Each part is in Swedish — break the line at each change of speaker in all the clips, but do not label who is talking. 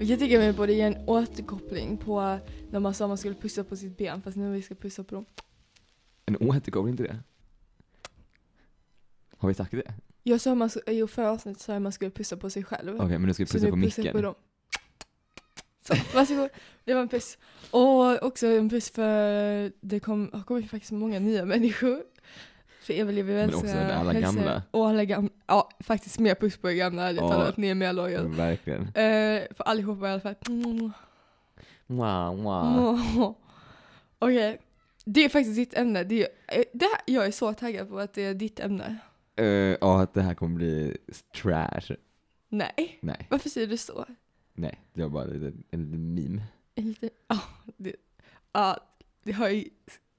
Jag tycker vi borde ge en återkoppling på när man sa man skulle pussa på sitt ben fast nu vi ska pussa på dem.
En återkoppling till det? Har vi sagt det?
Jag sa man, i förra avsnittet sa jag man skulle pussa på sig själv.
Okej, men nu ska vi pussa
nu
på
pussar jag
micken.
dem. Så, varsågod. Det var en puss. Och också en puss för det kom, har kommit faktiskt många nya människor. För Emil lever
Men också alla gamla.
Och alla gamla. Ja, faktiskt mer puss på er gamla ärligt
Ja. Mm.
talat. Ni är mer
Ja,
lojal.
verkligen.
Eh, för allihopa i alla fall. Mm.
Wow, wow.
Åh. Okej. Det är faktiskt ditt ämne. Det är, eh, det här, jag är så taggad på att det är ditt ämne.
Eh, Ja, att det här kommer bli trash.
Nej.
Nej,
Varför säger du så?
nej. Det var bara en liten- en liten meme.
En liten... Ja, det, ja, det har ju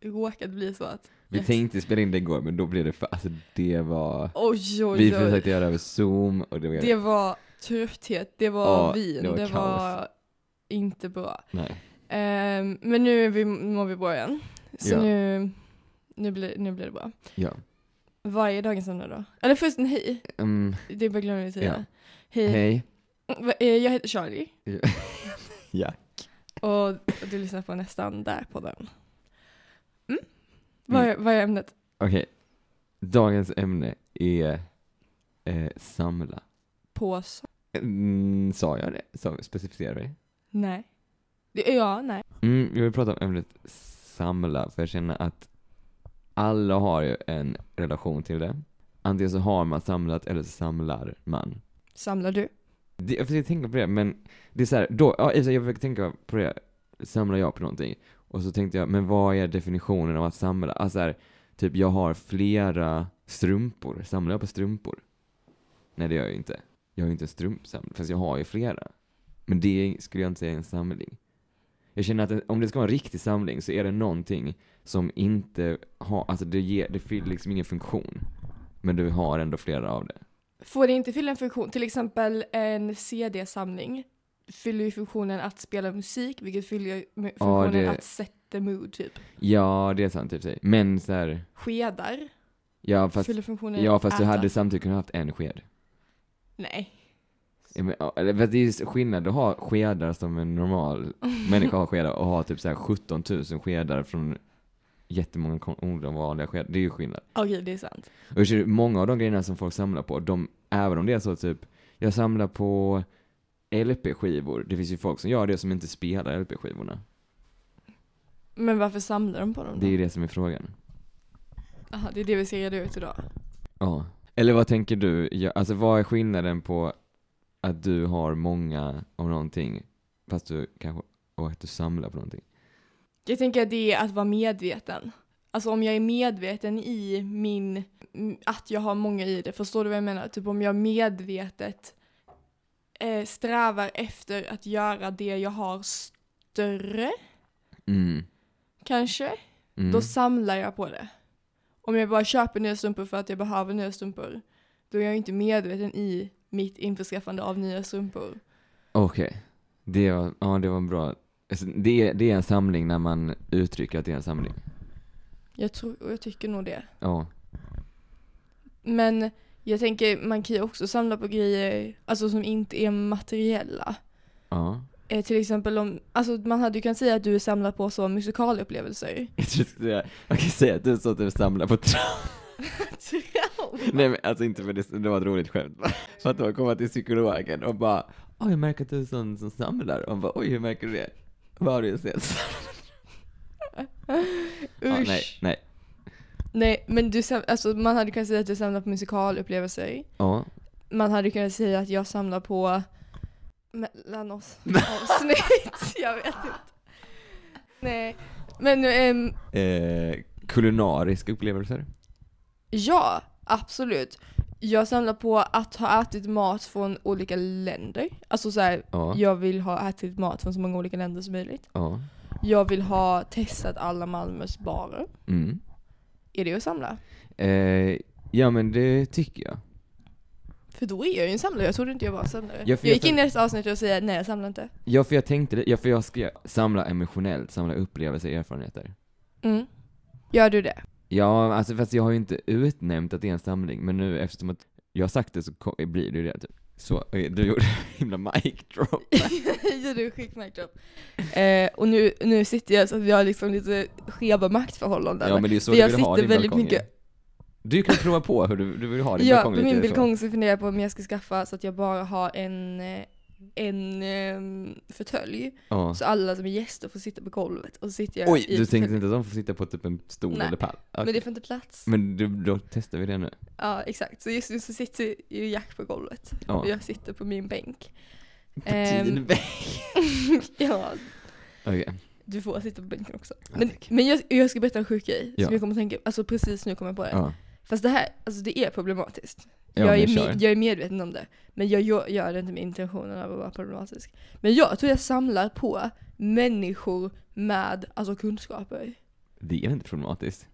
råkat bli så att...
Vi
Yes.
tänkte spela in det igår, men då blev det för... Alltså det var...
Oj,
Vi
oj, oj.
försökte göra över zoom och det var...
Det var trötthet, det var
Ja,
vin,
det
det
var
var,
kaos.
inte bra.
Nej.
Ehm, men nu är vi, mår vi bra igen. Så
Ja.
nu, nu, blir, nu blir det bra.
Ja.
Varje dagens ämne då? Eller först en hej.
Mm,
Det är bara glömde vi säga. Hej.
hej.
Va- eh, Jag heter Charlie
Ja.
och du lyssnar på nästan där på den. Mm. Vad, är, vad är ämnet?
Okej. Dagens ämne är eh, samla.
På så-
Mm, sa jag det? Sa, specificerade jag det?
Nej. Det- Ja, nej.
Mm, jag vill prata om ämnet samla, för jag känner att alla har ju en relation till det. Antingen så har man samlat eller så samlar man.
Samlar du?
Det, jag försöker tänka på det, men det är så här, då, ja, i och för sig, jag försöker tänka på det, samlar jag på någonting? Och så tänkte jag, men vad är definitionen av att samla? Alltså så här, typ jag har flera strumpor, samlar jag på strumpor? Nej det gör jag ju inte. Jag har ju inte en strumpsamling, fast jag har ju flera. Men det skulle jag inte säga är en samling. Jag känner att en- om det ska vara en riktig samling så är det någonting som inte har, alltså det ger, det fyller liksom ingen funktion. Men du har ändå flera av det.
Får det inte fylla en funktion, till exempel en CD-samling fyller ju funktionen att spela musik, vilket fyller ju mu- funktionen
det-
att sätta mood, typ.
Ja, det är sant i och för sig. Men så här,
Skedar
ja fast
fyller funktionen
Ja,
att
fast
äta.
du hade samtidigt kunnat haft en sked.
Nej.
Ja, men, ja, eller, fast det är ju skillnad att ha skedar som en normal människa har skedar och ha typ så här 17 000 skedar från jättemånga kon- olika vanliga skedar. Det är ju skillnad.
Okej, det är sant.
Och jag ser, många av de grejerna som folk samlar på, de, även om det är så typ, jag samlar på LP-skivor. Det finns ju folk som gör det som inte spelar LP-skivorna.
Men varför samlar de på dem då?
Det är ju det som är frågan.
Aha, det är det vi ser reda ut idag.
Ja. Eller vad tänker du? Ja, alltså vad är skillnaden på att du har många av någonting, fast du kanske, och att du samlar på någonting?
Jag tänker att det är att vara medveten. Alltså om jag är medveten i min, m- att jag har många i det, förstår du vad jag menar? Typ om jag medvetet eh, strävar efter att göra det jag har större,
Mm.
kanske,
Mm.
då samlar jag på det. Om jag bara köper nya strumpor för att jag behöver nya strumpor, då är jag inte medveten i mitt införskaffande av nya strumpor.
Okej. Det var, ja det var en bra, alltså, det, är, det är en samling när man uttrycker att det är en samling.
Jag tror, och jag tycker nog det.
Ja.
Men jag tänker, man kan ju också samla på grejer alltså, som inte är materiella.
Ja.
Eh, till exempel om, alltså man hade ju kunnat säga att du samlar på så musikalupplevelser.
Jag tror jag skulle säga, jag kan säga att du sa att du samlar på tra- Nej men alltså inte för det, det var ett roligt skämt. För att då komma till psykologen och bara, oj jag märker att du är en sån som samlar. Och hon bara, oj hur märker du det? Vad har du sett? Ja,
Usch.
nej,
nej.
nej.
men du sam- alltså, man hade kunnat säga att du samlar på musikalupplevelser.
Ja.
Man hade kunnat säga att jag samlar på mellan oss avsnitt. jag vet inte. Nej, men ehm,
Eh, kulinariska upplevelser.
Ja, absolut. Jag samlar på att ha ätit mat från olika länder. Alltså så här,
Ja.
jag vill ha ätit mat från så många olika länder som möjligt.
Ja.
Jag vill ha testat alla Malmös barer.
Mm.
Är det att samla?
Eh, ja men det tycker jag.
För då är jag ju en samlare, jag trodde inte jag var en samlare.
Ja,
Jag,
för jag
gick in i nästa avsnitt och säger nej jag samlar inte.
Ja, för jag tänkte det. Ja, för jag skrev samla emotionellt, samla upplevelser och erfarenheter.
Mm. Gör du det?
Ja, alltså fast jag har ju inte utnämnt att det är en samling, men nu eftersom att jag har sagt det så ko- blir det ju det typ. Så, okej, du gjorde en himla mic drop.
ja, du är skitmärkt eh, Och nu, nu sitter jag så att vi har liksom lite skeva maktförhållanden.
Ja men det är så
För
du
jag
vill ha
sitter
din
väldigt
balkong
mycket-
Du kan prova på hur du, du vill ha din
ja,
balkong
på min
lite så.
balkong så funderar jag på om jag ska skaffa så att jag bara har en, eh, en ehm, förtölj.
Ja.
Så alla som är gäster får sitta på golvet och så sitter jag
Oj,
i
du tänkte
förtöljen.
inte att de får sitta på typ en stol
Nej,
eller pall? Okej.
Men det får inte plats.
Men du, då testar vi det nu.
Ja, exakt. Så just nu så sitter ju Jack på golvet.
Ja.
Och jag sitter på min bänk.
På
Ehm.
din väg.
ja,
Okej.
du får sitta på bänken också.
Ja,
Men,
tack.
men jag, jag ska berätta en sjuk grej
Ja.
som jag kommer att tänka, alltså precis nu kommer jag på det.
Ja.
Fast det här, alltså det är problematiskt.
Ja,
jag,
men
är
kör.
med, jag är medveten om det. Men jag, jag gör det inte med intentionen av att vara problematisk. Men jag tror jag samlar på människor med alltså, kunskaper.
Det är inte problematiskt.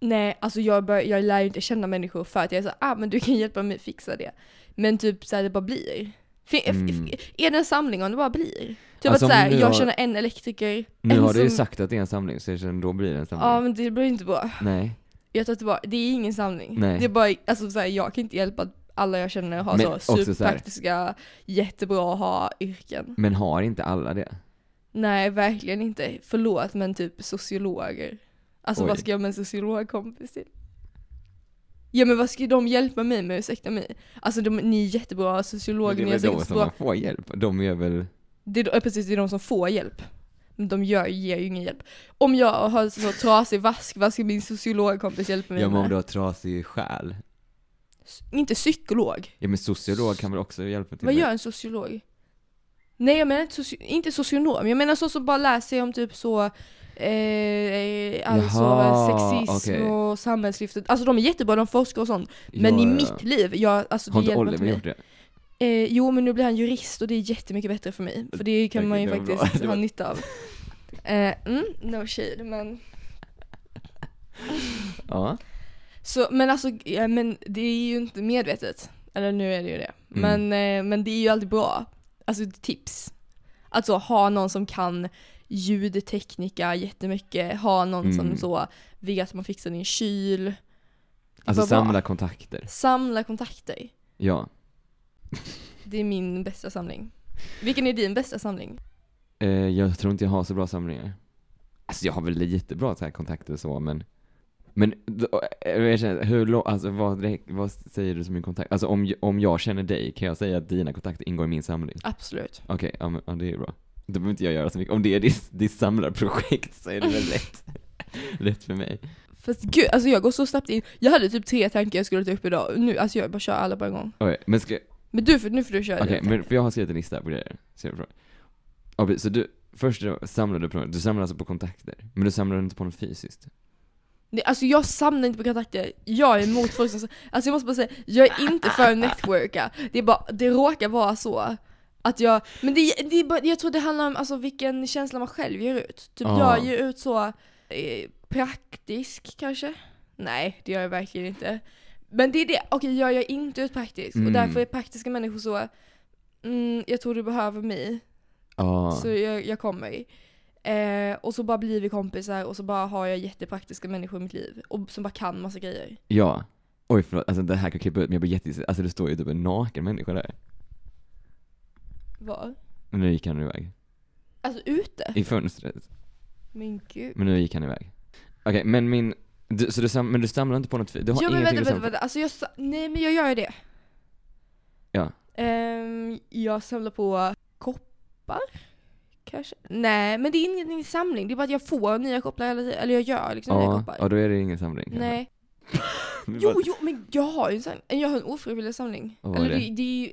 Nej, alltså jag, bör, jag lär ju inte känna människor för att jag är så ah men du kan hjälpa mig fixa det. Men typ så här, det bara blir. Fin, f-
Mm.
f- Är det en samling om det bara blir? Typ
Alltså,
att så här,
om du
jag
har-
känner en elektriker.
Nu
en
har du ju
Alltså som-
sagt att det är en samling, så jag känner då blir det en samling.
Ja men det blir inte bra.
Nej.
Jag tar tillbaka, det är ingen samling.
Nej.
Det är bara, alltså så här, jag kan inte hjälpa att alla jag känner har
Men
så
också så här-
superpraktiska, jättebra att ha yrken.
Men har inte alla det?
Nej, verkligen inte. Förlåt men typ sociologer. Alltså
Oj.
vad ska jag med en sociologkompis till? Ja men vad ska de hjälpa mig med, ursäkta mig? Alltså de, ni är jättebra sociologer, ni är
det är väl
säkert
de
så
som
bra.
man får hjälp? De är väl...
Det är, de- ja, precis, det är de som får hjälp. Men de gör, ger ju ingen hjälp. Om jag har så, så trasig vask, vad ska min sociologkompis hjälpa mig
Ja men om
med?
du har trasig själ.
S- Inte psykolog.
Ja men sociolog kan väl också hjälpa till
Vad
med-
gör en sociolog? Nej jag menar inte, soci- inte socionom, jag menar så som bara läser om typ så Eh, alltså
Jaha,
sexism
okej.
och samhällslyftet. Alltså de är jättebra, de forskar och sånt. Men
Ja,
i
ja, ja.
mitt liv, jag, alltså det
Har inte
hjälper inte
Oliver
mig.
gjort det?
Eh, jo men nu blir han jurist och det är jättemycket bättre för mig. För det kan
Okej,
man ju
det var bra.
faktiskt
Det
ha
var-
nytta av. Eh, mm, no shade men.
Ja. Alltså
Så, men alltså, ja, men det är ju inte medvetet. Eller nu är det ju det.
Mm.
Men, eh, men det är ju alltid bra. Alltså ett tips. Alltså ha någon som kan ljudteknika jättemycket, ha någon som
Mm.
så vet att man fixar din kyl.
Alltså
Vad bra.
samla kontakter.
Samla kontakter.
Ja.
Det är min bästa samling. Vilken är din bästa samling?
Eh, jag tror inte jag har så bra samlingar. Alltså jag har väl lite bra så här kontakter och så men men då, eh, jag känner, hur lång, alltså vad, räck- vad säger du som min kontakt? Alltså om, j- om jag känner dig, kan jag säga att dina kontakter ingår i min samling?
Absolut.
Okej, ja, men ja, det är bra. Då behöver inte jag göra så mycket. Om det är ditt, ditt samlarprojekt så är det väl lätt. lätt för mig.
Fast gud, alltså jag går så snabbt in. Jag hade typ tre tankar jag skulle ta upp idag. Nu, alltså jag bara kör alla på en gång.
Okej, men ska,
Men du, får nu får du köra
Okej,
dina
men
tankar.
för jag har skrivit en lista på grejer. Så, jag får- Ja, precis, så du, först då samlar du på, du samlar alltså på kontakter, men du samlar inte på något fysiskt?
Nej, alltså jag samlar inte på kontakter, jag är emot folk som... Alltså jag måste bara säga, jag är inte för att networka. Det är bara, det råkar vara så. Att jag, men det, det är bara, jag tror det handlar om alltså, vilken känsla man själv ger ut. Typ
Ah.
jag ger ut så, eh, praktisk kanske? Nej, det gör jag verkligen inte. Men det är det, okej jag gör inte ut praktisk och
Mm.
därför är praktiska människor så, mm, jag tror du behöver mig.
Ja.
Så jag, jag kommer. Eh, och så bara blir vi kompisar och så bara har jag jättepraktiska människor i mitt liv. Och som bara kan massa grejer.
Ja. Oj förlåt, alltså det här kan jag klippa ut men jag blir jätte... Alltså det står ju typ en naken människa där.
Var?
Men nu gick han iväg.
Alltså ute?
I fönstret.
Men gud.
Men nu gick han iväg. Okej, men min... Du, så du sam... men du samlar inte på något fysiskt? Du har
Ja men
ingenting
vänta, vänta,
du samlar
vänta. Alltså jag sa- nej men jag gör ju det.
Ja.
Ehm, jag samlar på koppar. Kanske? Nej men det är ingen samling, det är bara att jag får nya koppar hela tiden. Eller jag gör liksom nya
Ja,
koppar.
ja, då är det ingen samling. kanske.
nej.
Men
Jo,
vad-
jo, men jag har ju en, sam- jag har en ofrivillig samling.
Och vad är
Eller
det?
det, det är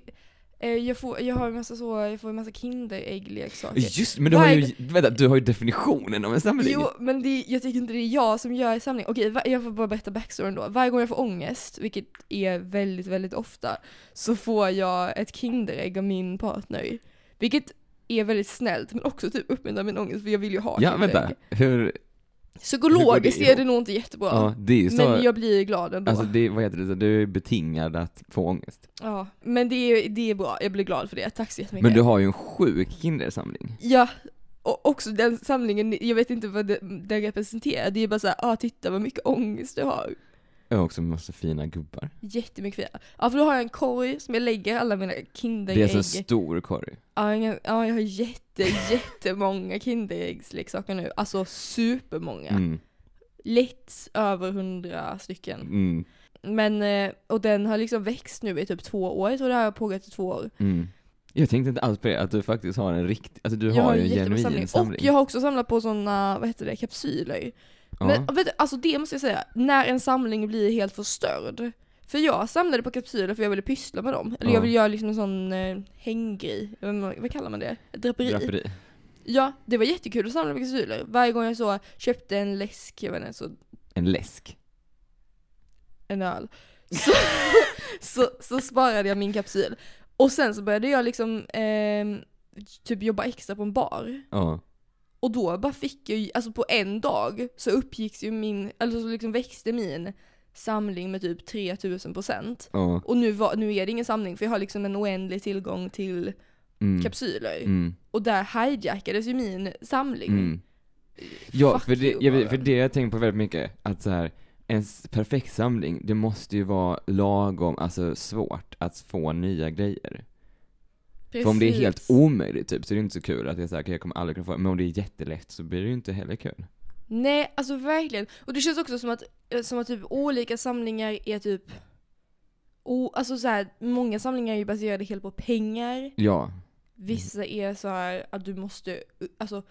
ju, eh, jag, får, jag har en massa så, jag får en massa kinderäggleksaker.
Just men du har ju... Vänta, du har ju definitionen av en samling.
Jo, men det, jag tycker inte det är jag som gör samling. Okej, va- jag får bara berätta backstoryn då. Varje gång jag får ångest, vilket är väldigt, väldigt ofta, så får jag ett kinderägg av min partner. Vilket är väldigt snällt, men också typ uppmuntrar min ångest, för jag vill ju ha
Ja, vänta. Hur...
Psykologiskt är
ihop?
det nog inte jättebra.
Ja, det är ju så...
Men jag blir glad ändå.
Alltså det, vad heter det, du är betingad att få ångest.
Ja, men det är, det är bra. Jag blir glad för det. Tack så jättemycket.
Men du har ju en sjuk kindersamling.
Ja, och också den samlingen, jag vet inte vad det- den representerar. Det är bara såhär, ah titta vad mycket ångest du har.
Jag har också massa fina gubbar.
Jättemycket fina. Ja för då har jag en korg som jag lägger alla mina
Det är
Kinderägg.
så stor korg.
Ja, ingen- ja, jag har jätte, jättemånga Kinderäggsleksaker nu. Alltså supermånga.
Mm.
Lätt över hundra stycken.
Mm.
Men, eh, och den har liksom växt nu i typ två år. Jag tror det här har pågått i två år.
Mm. Jag tänkte inte alls på det, att du faktiskt har en riktig, alltså du
jag
har ju en
jättebra
genuin samling.
samling. Och jag har också samlat på sådana, vad heter det, kapsyler.
ja.
Men vet du, alltså det måste jag säga, när en samling blir helt förstörd. För jag samlade på kapsyler för jag ville pyssla med dem. Eller
Ja.
jag ville göra liksom en sån eh, hänggrej. Jag vet inte, Vad kallar man det? Ett draperi.
Draperi.
Ja, det var jättekul att samla på kapsyler. Varje gång jag så köpte en läsk, jag vet inte, så
En läsk.
en öl. Så, så, så sparade jag min kapsyl. Och sen så började jag liksom ehm, typ jobba extra på en bar.
Ja.
Och då bara fick jag ju- alltså på en dag så uppgicks ju min, eller så liksom växte min samling med typ 3000%.
Ja.
Och nu, var, nu är det ingen samling för jag har liksom en oändlig tillgång till
Mm.
kapsyler.
Mm.
Och där hijackades ju min samling.
Mm. Ja,
Fuck
för det,
you,
jag,
bara.
för det jag tänker på väldigt mycket, att så här, en s- perfekt samling, det måste ju vara lagom, alltså svårt att få nya grejer. För om det är helt
Precis.
omöjligt typ, så är det inte så kul att jag säger jag kommer aldrig kunna få det. Men om det är jättelätt så blir det ju inte heller kul.
Nej, alltså verkligen. Och det känns också som att, eh, som att typ olika samlingar är typ... O, alltså så här, många samlingar är ju baserade helt på pengar.
Ja.
Vissa
Mm.
är så här att du måste... Alltså,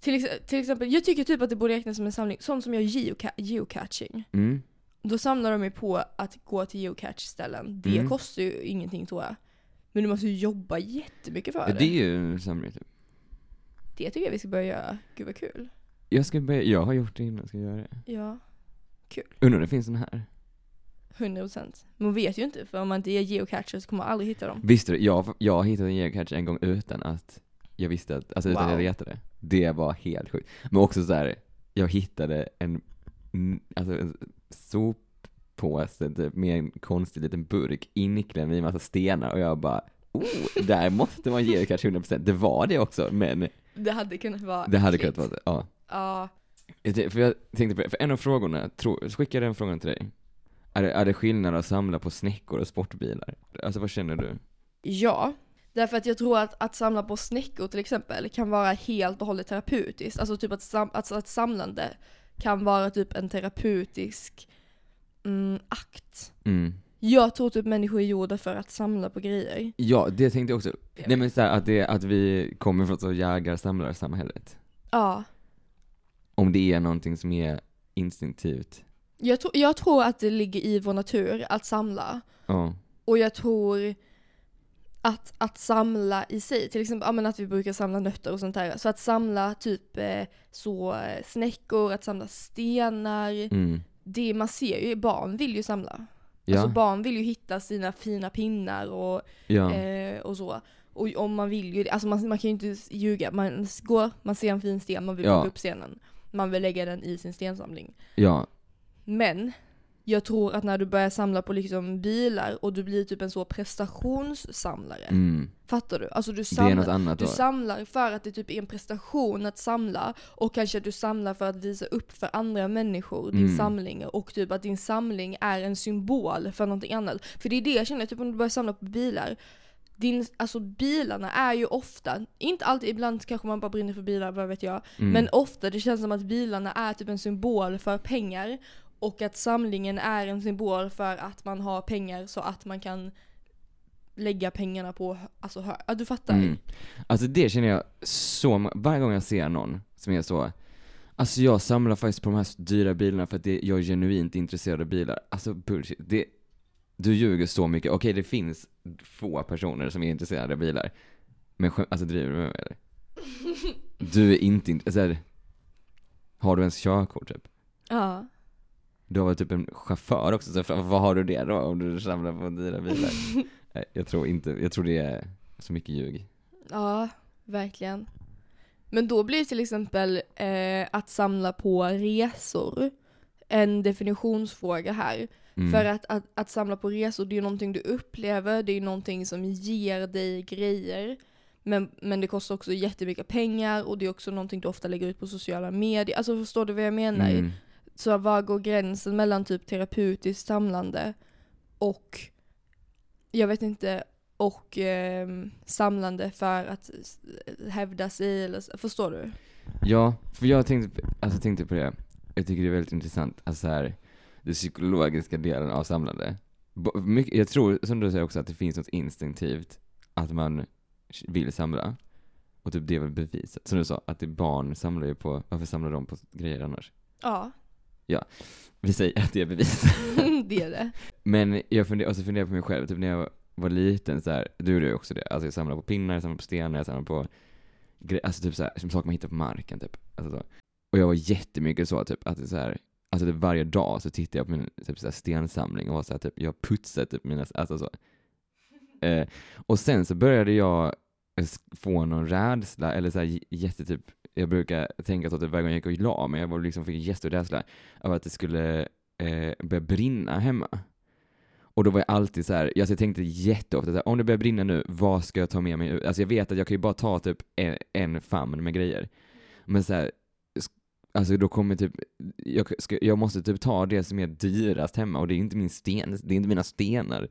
till, ex- till exempel, jag tycker typ att det borde räknas som en samling. Sånt som gör geoca- geocaching.
Mm.
Då samlar de ju på att gå till geocache-ställen. Det
Mm.
kostar ju ingenting tror jag. Men du måste ju jobba jättemycket för det.
Det är
Det,
ju en samling typ.
tycker jag vi ska börja göra. Gud vad
Mm.
kul.
Jag ska börja, jag har gjort det innan, ska jag göra det?
Ja,
Undrar om det finns sån här?
100%. Man vet ju inte för om man inte är geocacher så kommer man aldrig hitta dem.
Visste du, jag, jag hittade en geocache en gång utan att jag visste att, alltså utan att jag
Wow.
letade. Det var helt sjukt. Men också så här, jag hittade en, mm, alltså en soppåse typ med en konstig liten burk inklämd i en massa stenar och jag bara Oh, där måste man ge kanske 100%. Det var det också, men
Det hade kunnat vara
det hade kunnat
äckligt.
vara det. Ja.
Ja,
Jag tänkte- För jag tänkte på det, för en av frågorna, tro, skickade den frågan till dig. Är det, är det skillnad att samla på snäckor och sportbilar? Alltså vad känner du?
ja. Därför att jag tror att, att samla på snäckor till exempel kan vara helt och hållet terapeutiskt. Alltså typ att, sam, alltså att samlande kan vara typ en terapeutisk mm, akt.
Mm.
Jag tror typ människor är gjorda för att samla på grejer.
Ja, det tänkte jag också.
Jag
Nej men så här, att, det, att vi kommer från så jägar-samlarsamhället.
Ja.
Om det är någonting som är instinktivt.
Jag, tro, jag tror att det ligger i vår natur att samla.
Ja.
Och jag tror att, att samla i sig, till exempel ja, men att vi brukar samla nötter och sånt där. Så att samla typ eh, så eh, snäckor, att samla stenar.
Mm.
Det man ser ju, barn vill ju samla.
Ja.
Alltså barn vill ju hitta sina fina pinnar och,
ja.
eh, och så. Och om man vill ju, alltså man, man kan ju inte ljuga. Man s- går, man ser en fin sten, man vill
Ja.
plocka upp stenen. Man vill lägga den i sin stensamling.
ja.
Men jag tror att när du börjar samla på liksom bilar och du blir typ en så prestationssamlare.
Mm.
Fattar du? Alltså du
Det är något
samlar,
annat
du
då.
samlar för att det typ är en prestation att samla och kanske att du samlar för att visa upp för andra människor din
Mm.
samling och typ att din samling är en symbol för någonting annat. För det är det jag känner, typ om du börjar samla på bilar din, alltså bilarna är ju ofta, inte alltid, ibland kanske man bara brinner för bilar, vad vet jag.
Mm.
Men ofta det känns som att bilarna är typ en symbol för pengar och att samlingen är en symbol för att man har pengar så att man kan lägga pengarna på hö- alltså, hö- ja, du fattar.
Mm. Alltså det känner jag så må- varje gång jag ser någon som är så, alltså jag samlar faktiskt på de här dyra bilarna för att det, jag är genuint intresserad av bilar. Alltså bullshit, det, du ljuger så mycket. Okej det finns få personer som är intresserade av bilar. Men skäm- alltså driver du med mig eller? Du är inte intresserad. Alltså, har du ens körkort typ?
Ja.
Du har varit typ en chaufför också, så fra- vad har du det då om du samlar på dyra bilar? Nej, jag tror inte, jag tror det är så mycket ljug.
ja, verkligen. Men då blir till exempel eh, att samla på resor en definitionsfråga här.
Mm.
För att, att, att samla på resor, det är ju någonting du upplever, det är ju någonting som ger dig grejer. Men, men det kostar också jättemycket pengar och det är också någonting du ofta lägger ut på sociala medier. Alltså förstår du vad jag menar?
Mm.
Så var går gränsen mellan typ terapeutiskt samlande och, jag vet inte, och ehm, samlande för att s- hävda sig eller, s- förstår du?
Ja, för jag tänkte, alltså, tänkte på det. Jag tycker det är väldigt intressant, alltså så här, den psykologiska delen av samlande. Bo- mycket- Jag tror, som du säger också, att det finns något instinktivt att man vill samla. Och typ det är väl beviset. Som du sa, att det barn samlar ju på, varför samlar de på grejer annars?
Ja,
Vi säger att det är bevis.
det är det.
Men jag funderar, och så funderar jag på mig själv, typ när jag var liten så här, då gjorde jag också det. Alltså jag samlade på pinnar, jag samlade på stenar, jag samlade på gre- alltså typ så här, som saker man hittar på marken typ. Alltså så. Och jag var jättemycket så typ att det så här, alltså typ varje dag så tittade jag på min typ så här, stensamling och var så här, typ, jag putsade typ mina, alltså så. Eh, och sen så började jag s- få någon rädsla eller så här j- jättetyp, jag brukar tänka så typ varje gång jag gick och la mig, jag var liksom fick en jättestor rädsla av att det skulle eh, börja brinna hemma. Och då var jag alltid så här, alltså jag tänkte jätteofta så här, om det börjar brinna nu, vad ska jag ta med mig ut? Alltså jag vet att jag kan ju bara ta typ en, en famn med grejer. Men så här, sk- alltså då kommer typ, jag, ska, jag måste typ ta det som är dyrast hemma och det är inte min sten, det är inte mina stenar.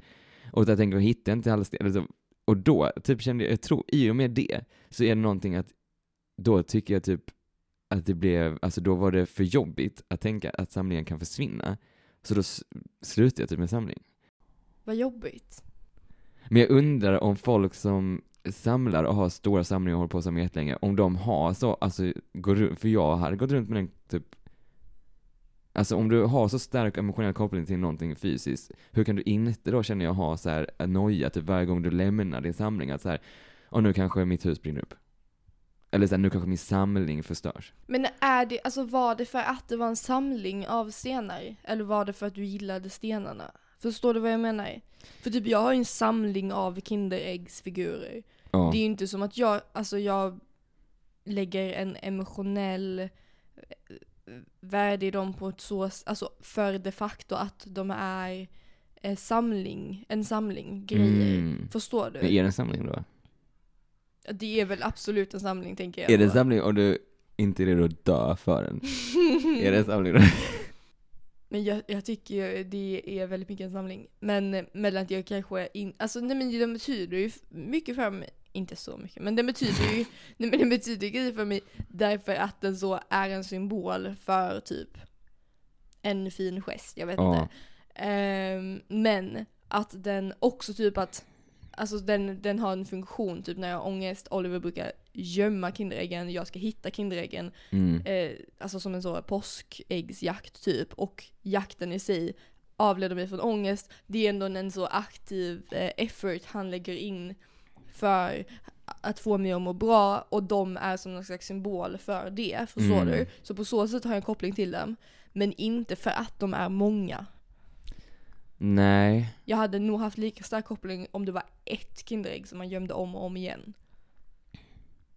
Och jag tänker, jag hittar inte alla stenar. Alltså, Och då, typ kände jag, jag tror, i och med det, så är det någonting att, då tycker jag typ att det blev, alltså då var det för jobbigt att tänka att samlingen kan försvinna. Så då s- slutade jag typ med samling.
Vad jobbigt.
Men jag undrar om folk som samlar och har stora samlingar och håller på så med jättelänge, om de har så, alltså, går, ru- för jag hade gått runt med den typ Alltså om du har så stark emotionell koppling till någonting fysiskt, hur kan du inte då känner jag ha så här en noja typ varje gång du lämnar din samling att så här, och nu kanske mitt hus brinner upp. Eller så här, nu kanske min samling förstörs.
Men är det, alltså var det för att det var en samling av stenar? Eller var det för att du gillade stenarna? Förstår du vad jag menar? För typ jag har ju en samling av Kinderäggsfigurer.
Ja.
Det är ju inte som att jag, alltså jag lägger en emotionell eh, värde i dem på ett så, alltså för de facto att de är eh, samling, en samling grejer.
Mm.
Förstår du?
Men är det en samling då?
Det är väl absolut en samling tänker jag.
Är det en samling om du inte är redo att dö för den? är det en samling då?
Men jag, jag tycker ju det är väldigt mycket en samling. Men mellan att jag kanske in, alltså nej men den betyder ju mycket för mig, inte så mycket, men den betyder ju, nej men den betyder grejer för mig därför att den så är en symbol för typ en fin gest, jag vet
Ja.
inte. Ehm, men att den också typ att, alltså den, den har en funktion typ när jag har ångest, Oliver brukar gömma kinderäggen, jag ska hitta kinderäggen
Mm.
eh, alltså som en så påskäggsjakt typ och jakten i sig avleder mig från ångest. Det är ändå en så aktiv eh, effort han lägger in för att få mig att må bra och de är som någon slags symbol för det, förstår
Mm.
du? Så på så sätt har jag en koppling till dem, men inte för att de är många.
Nej.
Jag hade nog haft lika stark koppling om det var ett Kinderägg som man gömde om och om igen.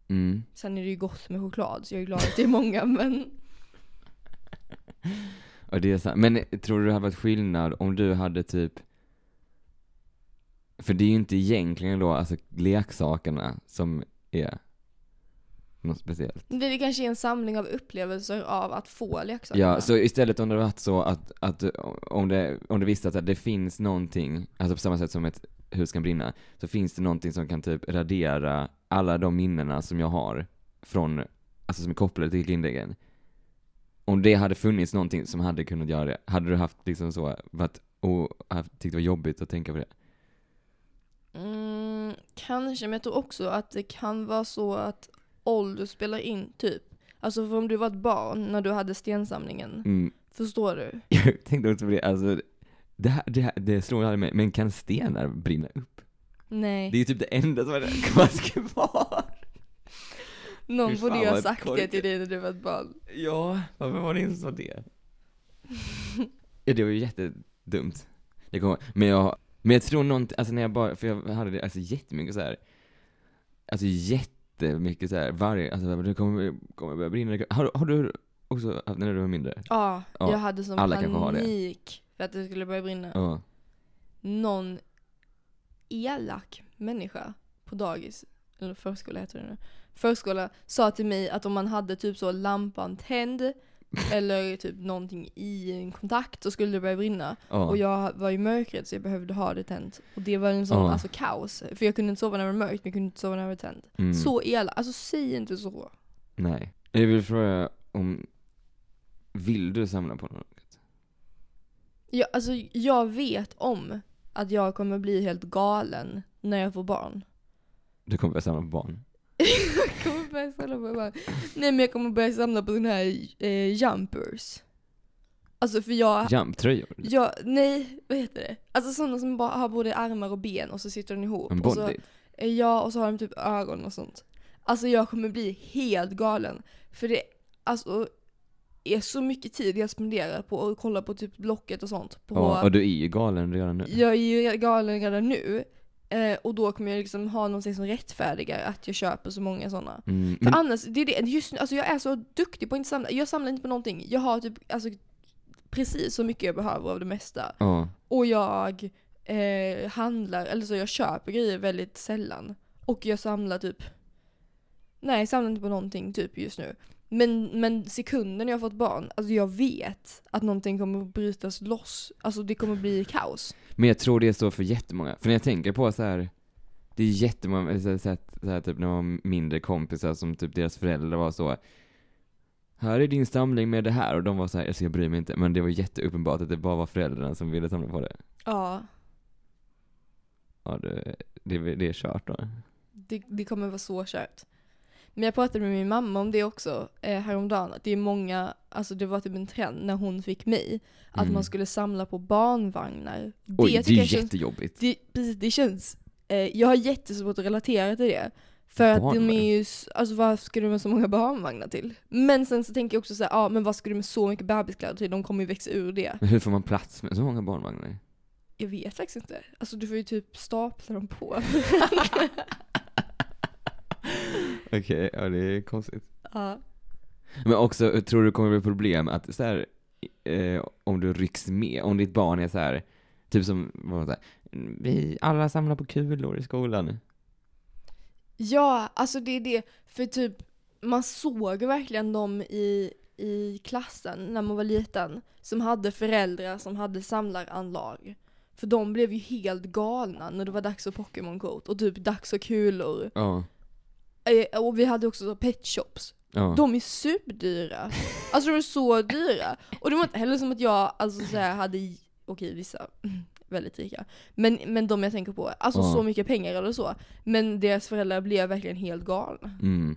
Mm.
Sen är det ju gott med choklad så jag är glad att det är många men
Och det är sant. Men tror du det hade varit skillnad om du hade typ För det är ju inte egentligen då alltså leksakerna som är något speciellt.
Det det kanske är en samling av upplevelser av att få leksakerna.
Ja, så istället om det hade varit så att, att om, det, om du visste att det finns någonting, alltså på samma sätt som ett hus kan brinna, så finns det någonting som kan typ radera alla de minnena som jag har från, alltså som är kopplade till Kinderäggen. Om det hade funnits någonting som hade kunnat göra det, hade du haft liksom så, varit, och haft, tyckt det var jobbigt att tänka på det?
Mm, kanske, men jag tror också att det kan vara så att ålder spelar in, typ. Alltså för om du var ett barn när du hade stensamlingen,
Mm.
förstår du?
Jag tänkte också på det, alltså, det, här, det, här, det slår jag aldrig med, men kan stenar brinna upp?
Nej.
Det är ju typ det enda som hade varit kvar. Fy
Någon
fan,
borde ju ha
vad
sagt det
korkat.
till dig när du var ett barn.
Ja, varför var det ingen som sa det? ja, det var ju jättedumt. Jag kommer, men, jag, men jag tror någonting, alltså när jag bara, för jag hade det alltså jättemycket så här. alltså jättemycket så här. varje, alltså det kommer, kommer börja brinna. Har, har du också haft när du var mindre?
Ja,
Ja,
jag hade som
alla kanske har det.
panik för att det skulle börja brinna.
Ja.
Någon elak människa på dagis, eller förskola heter det nu, förskola sa till mig att om man hade typ så lampan tänd eller typ någonting i en kontakt så skulle det börja brinna.
Ja.
Och jag var i mörkret så jag behövde ha det tänt. Och det var en sån
Ja.
alltså, kaos. För jag kunde inte sova när det var mörkt men jag kunde inte sova när det var tänt.
Mm.
Så elak, alltså säg inte så.
Nej. Jag vill fråga om, vill du samla på något?
Jag, alltså, jag vet om att jag kommer bli helt galen när jag får barn.
Du kommer börja samla på barn?
jag kommer börja samla på barn. Nej men jag kommer börja samla på såna här eh, jumpers. Alltså för jag,
Jumptröjor?
jag, nej vad heter det? Alltså sådana som bara har både armar och ben och så sitter de ihop.
En
och så,
body?
Eh, Ja, och så har de typ ögon och sånt. Alltså jag kommer bli helt galen. För det alltså, är så mycket tid jag spenderar på att kolla på typ Blocket och sånt. På,
Ja, och du är ju galen redan nu.
Jag är ju galen redan nu. Eh, och då kommer jag liksom ha någonting som rättfärdigar att jag köper så många sådana.
Mm,
För
men,
annars, det är det, just nu, alltså jag är så duktig på att inte samla. Jag samlar inte på någonting. Jag har typ alltså, precis så mycket jag behöver av det mesta.
ja.
Och jag eh, handlar, eller så jag köper grejer väldigt sällan. Och jag samlar typ, nej jag samlar inte på någonting typ just nu. Men, men sekunden jag har fått barn, alltså jag vet att någonting kommer att brytas loss. Alltså det kommer bli kaos.
men jag tror det är så för jättemånga. För när jag tänker på så här, det är jättemånga, eller så här, så här, så här, typ när man har mindre kompisar som typ deras föräldrar var så här är din samling med det här och de var så här, alltså jag bryr mig inte. Men det var jätteuppenbart att det bara var föräldrarna som ville samla på det.
Ja,
Ja, det, det, det är kört då.
det, det kommer vara så kört. Men jag pratade med min mamma om det också eh, häromdagen. Att det är många, alltså det var typ en trend när hon fick mig. Att
Mm.
man skulle samla på barnvagnar.
Oj, det,
tycker jag
är
känns-
jättejobbigt.
Det, precis, det känns... Eh, jag har jättesvårt att relatera till det. För att de
Barnvagn.
är ju... s- Alltså varför ska du med så många barnvagnar till? Men sen så tänker jag också så här, ja men vad ska du med så mycket bebiskläder till? De kommer ju växa ur det.
Men hur får man plats med så många barnvagnar?
Jag vet faktiskt inte. Alltså du får ju typ stapla dem på.
Okej, ja det är konstigt.
ja.
Men också, tror du det kommer bli problem att så här, eh, om du rycks med, om ditt barn är så här, typ som, vad var det, vi alla samlar på kulor i skolan.
ja, alltså det är det. För typ, man såg verkligen dem i, i klassen när man var liten. Som hade föräldrar som hade samlaranlag. För de blev ju helt galna när det var dags för Pokémon-kort och typ dags för kulor.
Ja.
Eh, Och vi hade också så pet shops.
Ja.
De är superdyra. Alltså de är så dyra. Och det var inte heller som att jag alltså, så här, hade, okej vissa, väldigt rika. Men, men de jag tänker på, alltså
Ja.
så mycket pengar eller så. Men deras föräldrar blev verkligen helt galna.
Mm.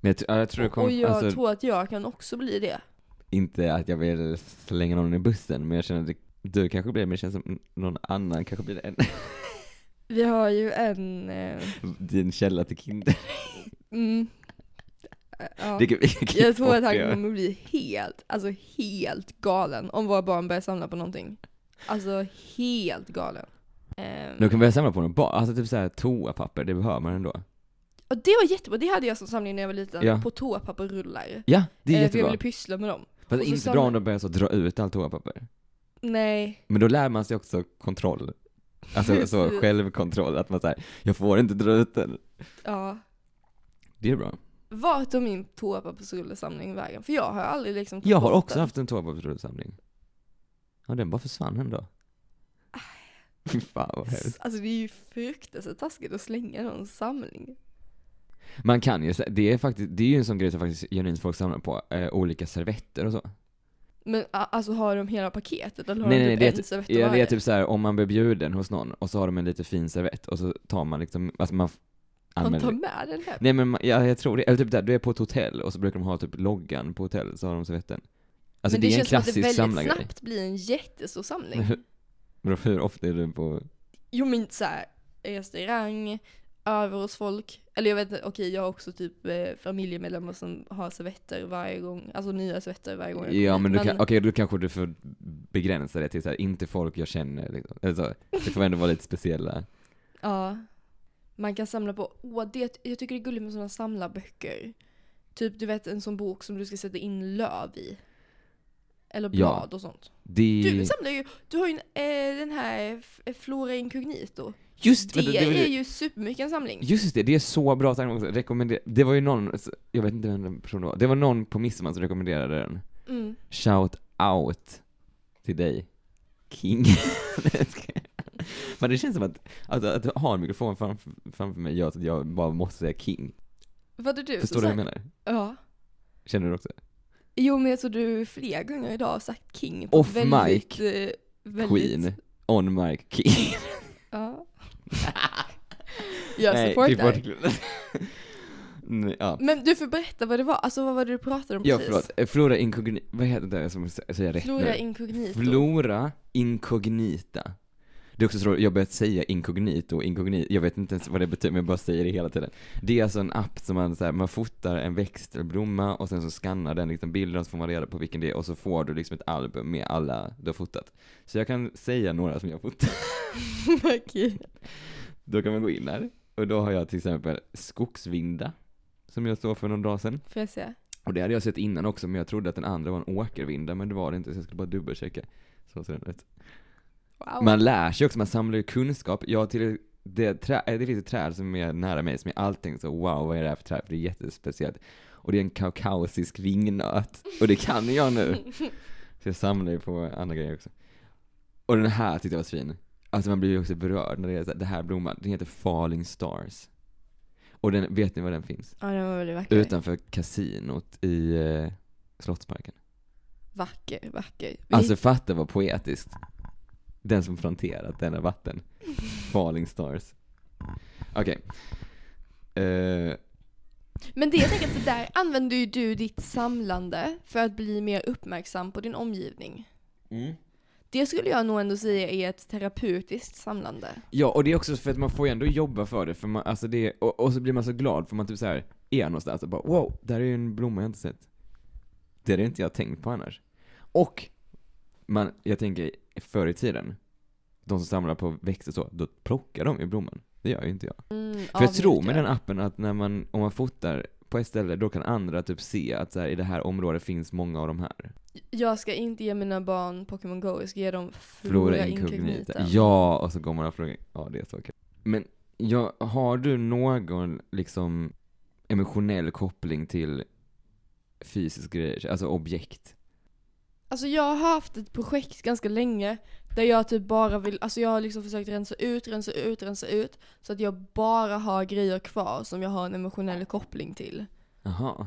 Men jag, tr- ja, jag tror det kommer,
och jag
alltså,
tror att jag kan också bli det.
inte att jag vill slänga någon i bussen, men jag känner att det, du kanske blir det, men det känns som någon annan kanske blir det. En,
Vi har ju en... Eh,
det är en källa till kinder.
mm, Eh, ja.
Det kan, vi kan
Jag tror att han
avgöra.
kommer bli helt, alltså helt galen om våra barn börjar samla på någonting. Alltså helt galen. Ehm,
Du kan börja samla på något bra, alltså typ såhär toapapper, det behöver man ändå.
och det var jättebra, det hade jag som samling när jag var liten.
Ja.
På toapapperrullar.
Ja, det
Eh, För
är
jag
jättebra.
ville pyssla med dem.
Fast
och så
inte
samla-
bra om de börjar så dra ut allt toapapper.
Nej,
Men då lär man sig också kontroll. Alltså så
Precis.
självkontroll, att man säger jag får inte dra ut den.
ja.
Det är bra.
Vart tog min toapappersrullesamling vägen? För jag har aldrig liksom tagit
Jag har
bort
också
den.
haft en toapappersrullsamling. Ja, den bara försvann en dag. Fy fan vad hemskt.
Alltså det är ju fruktansvärt taskigt att slänga någon samling.
Man kan ju, sä- det är faktiskt, det är ju en sån grej som faktiskt genuint folk samlar på, eh, olika servetter och så.
Men a- alltså har de hela paketet eller har
Nej,
de
nej,
typ
det är
en servett av
Ja, det
varje?
är typ så här om man blir bjuden hos någon och så har de en lite fin servett och så tar man liksom, alltså man f-
Man
anmäler
tar med den här.
Nej men man- ja, jag tror det, eller typ där, du är på ett hotell och så brukar de ha typ loggan på hotellet, så har de servetten. Alltså
men
det,
det,
är en
känns som att det
klassisk
väldigt
samlargrej. Mm.
snabbt liksom. blir en jättestor samling.
Men hur ofta är du på...
Jo men så här, restaurang, över hos folk. Eller jag vet inte, okej jag har också typ eh, familjemedlemmar som har servetter varje gång. Alltså nya servetter varje gång jag
Ja
kommer
men du
hit.
kan, okej då kanske du får begränsa det till så här, inte folk jag känner liksom. Eller så, det får ändå vara lite speciella.
Ja. Man kan samla på, åh det, jag tycker det är gulligt med sådana samlarböcker. Typ du vet en sån bok som du ska sätta in löv i. Eller
Ja.
blad och sånt.
Det...
Du samlar ju, du har ju en, eh, den här f- Flora Incognito.
just
Det,
vänta, det, var
är
det,
ju supermycket en samling.
Just det, det är så bra tanke också. Rekommender... Det var ju någon, jag vet inte vem den personen var, det var någon på midsommar som alltså rekommenderade den.
Mm.
Shout out till dig, King. Men det känns som att, att, att ha en mikrofon framför, framför mig gör att jag bara måste säga King.
Var det du
Förstår du
som
vad jag
sa?
menar?
Ja.
Känner du också?
Jo men jag tror du flera gånger idag har sagt King.
Off
ett
mic.
eh, väldigt,
Queen, on mic, King.
Ja. jag
Nej,
supportar.
typ verkligen. Nej, ja.
Men du får berätta vad det var, alltså vad var det du pratade om
Ja,
precis?
förlåt. Eh, Flora inkognita, vad heter det som jag säger rätt
Flora
nu?
incognito.
Flora inkognita. Det är också så roligt, jag har börjat säga inkognito och inkognito, jag vet inte ens vad det betyder men jag bara säger det hela tiden. Det är alltså en app som man så här, man fotar en växt eller blomma och sen så skannar den liksom bilden och så får man reda på vilken det är och så får du liksom ett album med alla du har fotat. Så jag kan säga några som jag har fotat.
Okej.
Då kan man gå in där och då har jag till exempel skogsvinda som jag såg för någon dag sedan.
Får jag se?
Och det hade jag sett innan också, men jag trodde att den andra var en åkervinda, men det var det inte, så jag skulle bara dubbelchecka. Så ser den ut.
Wow.
Man lär sig också, man samlar ju kunskap. Jag till det, trä, eh, det finns ett träd som är nära mig som jag alltid tänker så wow, vad är det här för träd? För det är jättespeciellt. Och det är en kaukasisk vingnöt. Och det kan jag nu. Så jag samlar ju på andra grejer också. Och den här tyckte jag var svin. Alltså man blir ju också berörd när det är så här, det här blomman, den heter Falling Stars. Och den, vet ni var den finns?
Ja den var väldigt vacker.
Utanför kasinot i eh, Slottsparken.
Vacker, vacker. Vi-
Alltså fatta vad poetiskt. Den som planterat denna vatten. Falling stars. Okej. Eh,
Men det jag tänker, för där använder ju du ditt samlande för att bli mer uppmärksam på din omgivning.
mm.
Det skulle jag nog ändå säga är ett terapeutiskt samlande.
Ja, och det är också för att man får ju ändå jobba för det, för man, alltså det, och, och så blir man så glad för man typ så här är någonstans och bara wow, där är ju en blomma jag inte sett. Det hade inte jag tänkt på annars. Och, man, jag tänker förr i tiden, de som samlar på växter så, då plockar de ju blomman. Det gör ju inte jag.
Mm,
För jag tror med den appen att när man, om man fotar på ett ställe, då kan andra typ se att så här, i det här området finns många av de
Mm.
här.
Jag ska inte ge mina barn Pokémon Go, jag ska ge dem Flora,
Flora inkognita.
Incognita.
Ja, och så går man och frågar. Ja, det är så kul. Men ja, har du någon liksom emotionell koppling till fysisk grejer, alltså objekt?
Alltså jag har haft ett projekt ganska länge där jag typ bara vill, alltså jag har liksom försökt rensa ut, rensa ut, rensa ut så att jag bara har grejer kvar som jag har en emotionell koppling till.
Jaha.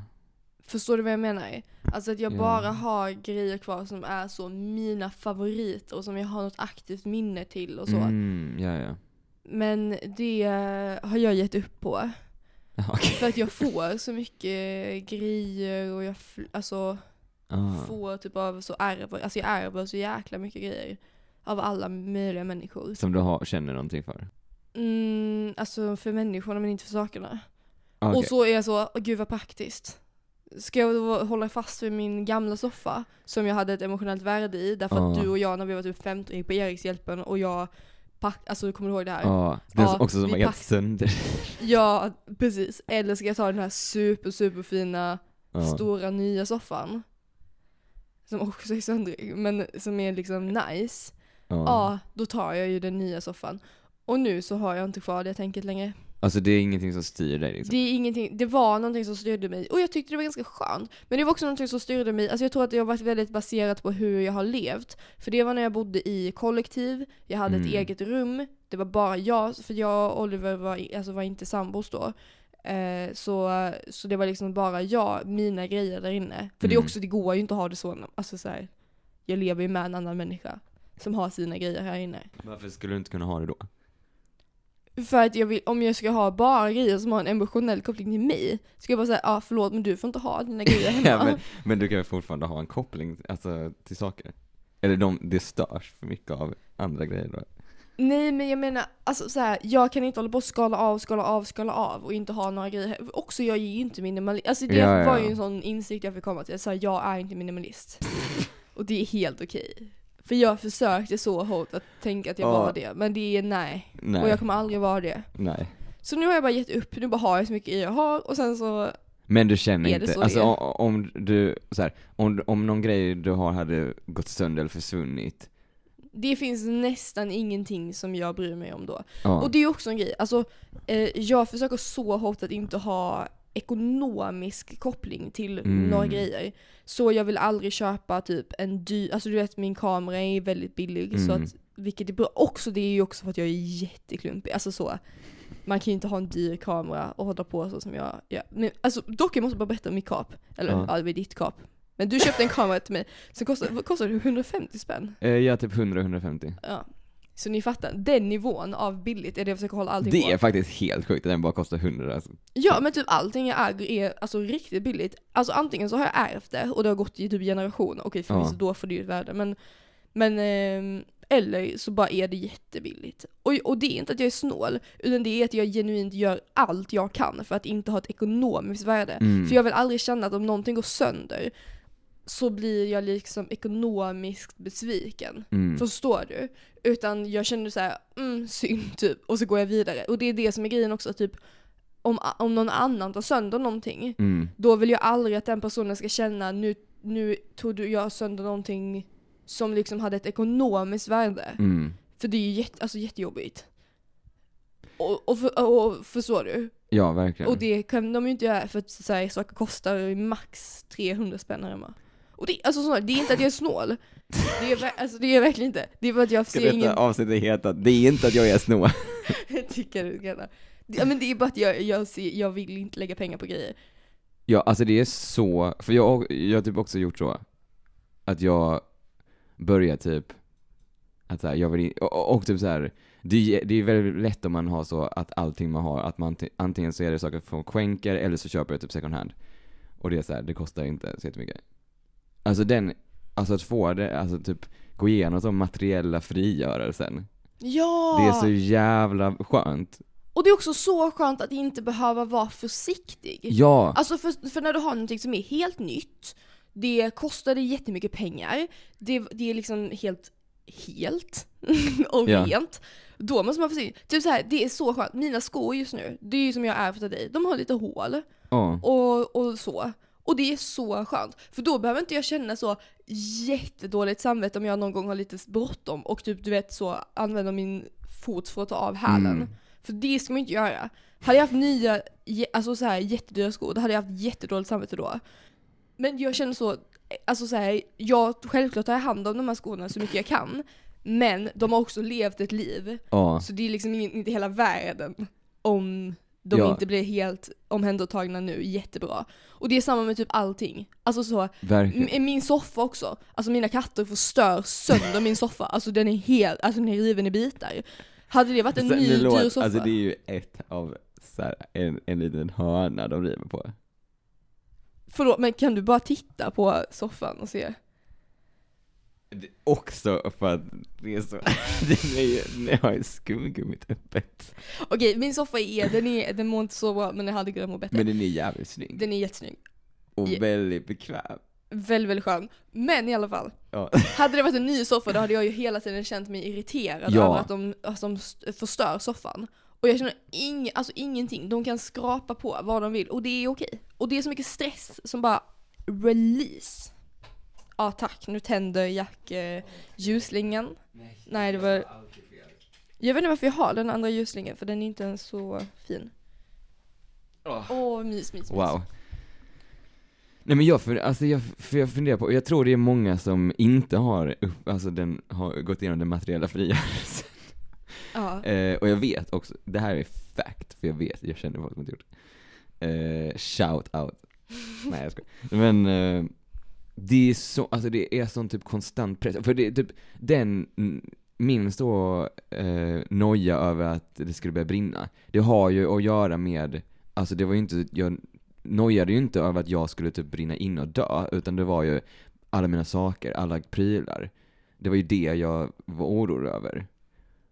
Förstår du vad jag menar? Alltså att jag
Ja.
bara har grejer kvar som är så mina favoriter och som jag har något aktivt minne till och så.
Mm, ja, ja.
Men det har jag gett upp på.
Jaha, okej.
För att jag får så mycket grejer och jag fl- alltså,
Ah.
får typ av så ärver, alltså jag ärver så jäkla mycket grejer. Av alla möjliga människor.
Som du har, känner någonting för?
Mm, alltså för människorna men inte för sakerna.
Ah, okej.
Och så är jag så, "Åh, gud vad praktiskt. Ska jag då hålla fast vid min gamla soffa som jag hade ett emotionellt värde i därför att
Ja.
du och jag när vi var typ 15 gick på Erikshjälpen och jag pack, alltså kommer du ihåg det här?
Ja, Ah. den
Ja,
som också som
vi
var helt
pack-
sönder.
Ja, precis. Eller ska jag ta den här super superfina
Ja.
stora nya soffan? Som också är söndrig, men som är liksom nice.
Ja.
Ja, då tar jag ju den nya soffan. Och nu så har jag inte kvar det tänket längre.
Alltså det är ingenting som styr dig liksom?
Det är ingenting, det var någonting som styrde mig och jag tyckte det var ganska skönt. Men det var också någonting som styrde mig, alltså jag tror att det har varit väldigt baserat på hur jag har levt. För det var när jag bodde i kollektiv, jag hade ett
Mm.
eget rum, det var bara jag, för jag och Oliver var, i- alltså var inte sambos då. Eh, så, så det var liksom bara jag, mina grejer där inne. För det är
Mm.
också, det går ju inte att ha det så, alltså så här, jag lever ju med en annan människa som har sina grejer här inne.
Varför skulle du inte kunna ha det då?
För att jag vill, om jag ska ha bara grejer som har en emotionell koppling till mig, ska jag bara säga ja ah, förlåt men du får inte ha dina grejer hemma.
ja, men, men du kan ju fortfarande ha en koppling alltså, till saker? Eller de, det störs för mycket av andra grejer då?
Nej men jag menar, alltså så här, jag kan inte hålla på och skala av, skala av, skala av och inte ha några grejer. he- Också jag är ju inte minimalist. Alltså det
Ja, ja,
var
ja.
ju en sån insikt jag fick komma till, så här, jag är inte minimalist. och det är helt okej. För jag försökte så hårt att tänka att jag
Ja.
var det, men det är nej.
Nej,
Och jag kommer aldrig vara det.
nej.
Så nu har jag bara gett upp, nu bara har jag så mycket grejer jag har och sen så
Men du känner
Är det
inte,
så
alltså
det är?
o- om du, så här, om, om någon grej du har hade gått sönder eller försvunnit,
Det finns nästan ingenting som jag bryr mig om då.
ja,
Och det är ju också en grej, alltså eh, jag försöker så hårt att inte ha ekonomisk koppling till
Mm.
några grejer. Så jag vill aldrig köpa typ en dyr, alltså du vet min kamera är väldigt billig så
Mm.
att, vilket är bra. Också det är ju också för att jag är jätteklumpig, alltså så. Man kan ju inte ha en dyr kamera och hålla på så som jag gör. Men, alltså, dock, jag måste bara berätta om mitt kap. Eller
Ja.
ja, det var ditt kap. Men du köpte en kamera till mig som kostade, vad kostade det? 150 spänn.
Eh, ja, typ 100-150.
Ja. Så ni fattar, den nivån av billigt är det jag försöker hålla allting
Det
på.
är faktiskt helt sjukt att den bara kostar 100 alltså.
Ja men typ allting jag äger är alltså riktigt billigt. Alltså antingen så har jag ärvt det och det har gått i typ generationer, okej förvisso
Ja.
då får det ju ett värde men, men ehm, eller så bara är det jättebilligt. Och, och det är inte att jag är snål, utan det är att jag genuint gör allt jag kan för att inte ha ett ekonomiskt värde.
Mm.
För jag vill aldrig känna att om någonting går sönder så blir jag liksom ekonomiskt besviken.
Mm.
Förstår du? Utan jag känner så här, mm, synd typ. Och så går jag vidare. Och det är det som är grejen också, typ om, om någon annan tar sönder någonting,
Mm.
då vill jag aldrig att den personen ska känna nu, nu tog du jag sönder någonting som liksom hade ett ekonomiskt värde.
Mm.
För det är ju jätte, alltså, jättejobbigt. Och, och, för, och förstår du?
Ja, verkligen.
Och det kan de ju inte göra för att så här, saker kostar ju max 300 spänn här hemma. Och det, alltså, sådär, det är inte att jag är snål. Det är, ver- alltså, det är jag verkligen inte. Det är bara att jag
Ska
ser
detta
ingen
avsnittet heta Det är inte att jag är snål?
Jag tycker du kan. Ja, men det är bara att jag, jag, ser, jag vill inte lägga pengar på grejer.
Ja, alltså det är så, för jag, jag har typ också gjort så. Att jag börjar typ, att så här, jag vill in, och, och- och typ så här. Det, är- det är väldigt lätt om man har så att allting man har, att man t- antingen så är det saker från skänker eller så köper jag typ second hand. Och det är så här, det kostar inte så jättemycket. Alltså den, alltså att få det, alltså typ gå igenom de materiella frigörelsen.
Ja!
Det är så jävla skönt.
Och det är också så skönt att inte behöva vara försiktig.
Ja!
Alltså för, för när du har någonting som är helt nytt, det kostar dig jättemycket pengar, det, det är liksom helt helt och
Ja.
rent. Då måste man försiktig. Typ så här, det är så skönt. Mina skor just nu, det är ju som jag ärvt av dig, de har lite hål.
Ja.
och, och så. Och det är så skönt, för då behöver inte jag känna så jättedåligt samvete om jag någon gång har lite bråttom och typ du vet så använder min fot för att ta av hälen.
Mm.
För det ska man inte göra. Hade jag haft nya, jä- alltså så här jättedyra skor, då hade jag haft jättedåligt samvete då. Men jag känner så, alltså så här, jag, självklart tar jag hand om de här skorna så mycket jag kan. Men de har också levt ett liv
ja.
så det är liksom ingen, inte hela världen om de
Ja.
inte blir helt omhändertagna nu jättebra. Och det är samma med typ allting. Alltså så,
Verkligen.
m- min soffa också. Alltså mina katter förstör sönder min soffa. Alltså den är helt, alltså den är riven i bitar. Hade det varit en
Sen,
ny
det låter-
dyr soffa?
Alltså det är ju ett av så här, en, en liten hörna de river på.
Förlåt, men kan du bara titta på soffan och se?
Det, också för att det är så, det är ju, ni har ju skumgummit öppet.
Okej, min soffa är, den, är, den mår inte så bra men den hade kunnat må bättre.
Men den är jävligt snygg.
Den är jättesnygg.
och
Ja.
väldigt bekväm.
Väldigt, väldigt skön. Men i alla fall.
Ja.
Hade det varit en ny soffa då hade jag ju hela tiden känt mig irriterad
Ja.
över att de, att de st- förstör soffan. Och jag känner ing, alltså ingenting, de kan skrapa på vad de vill och det är okej. Och det är så mycket stress som bara release. Ja tack, nu tänder Jack eh, ljusslingan. Nej, det var- Jag vet inte varför jag har den andra ljusslingan för den är inte ens så fin.
Åh.
Åh, mys, mys, mys.
Wow. Nej men jag, för, alltså jag, för jag funderar på, jag tror det är många som inte har, upp, alltså den, har gått igenom den materiella frigörelsen.
Ja.
Eh, och jag vet också, det här är fact, för jag vet, jag känner folk som inte gjort det. Eh, shout out. Nej jag skojar. Men eh, det är så, alltså det är sån typ konstant press. För det är typ, den, mm, minst då eh, noja över att det skulle börja brinna. Det har ju att göra med, alltså det var ju inte, jag nojade ju inte över att jag skulle typ brinna in och dö, utan det var ju alla mina saker, alla prylar. Det var ju det jag var orolig över.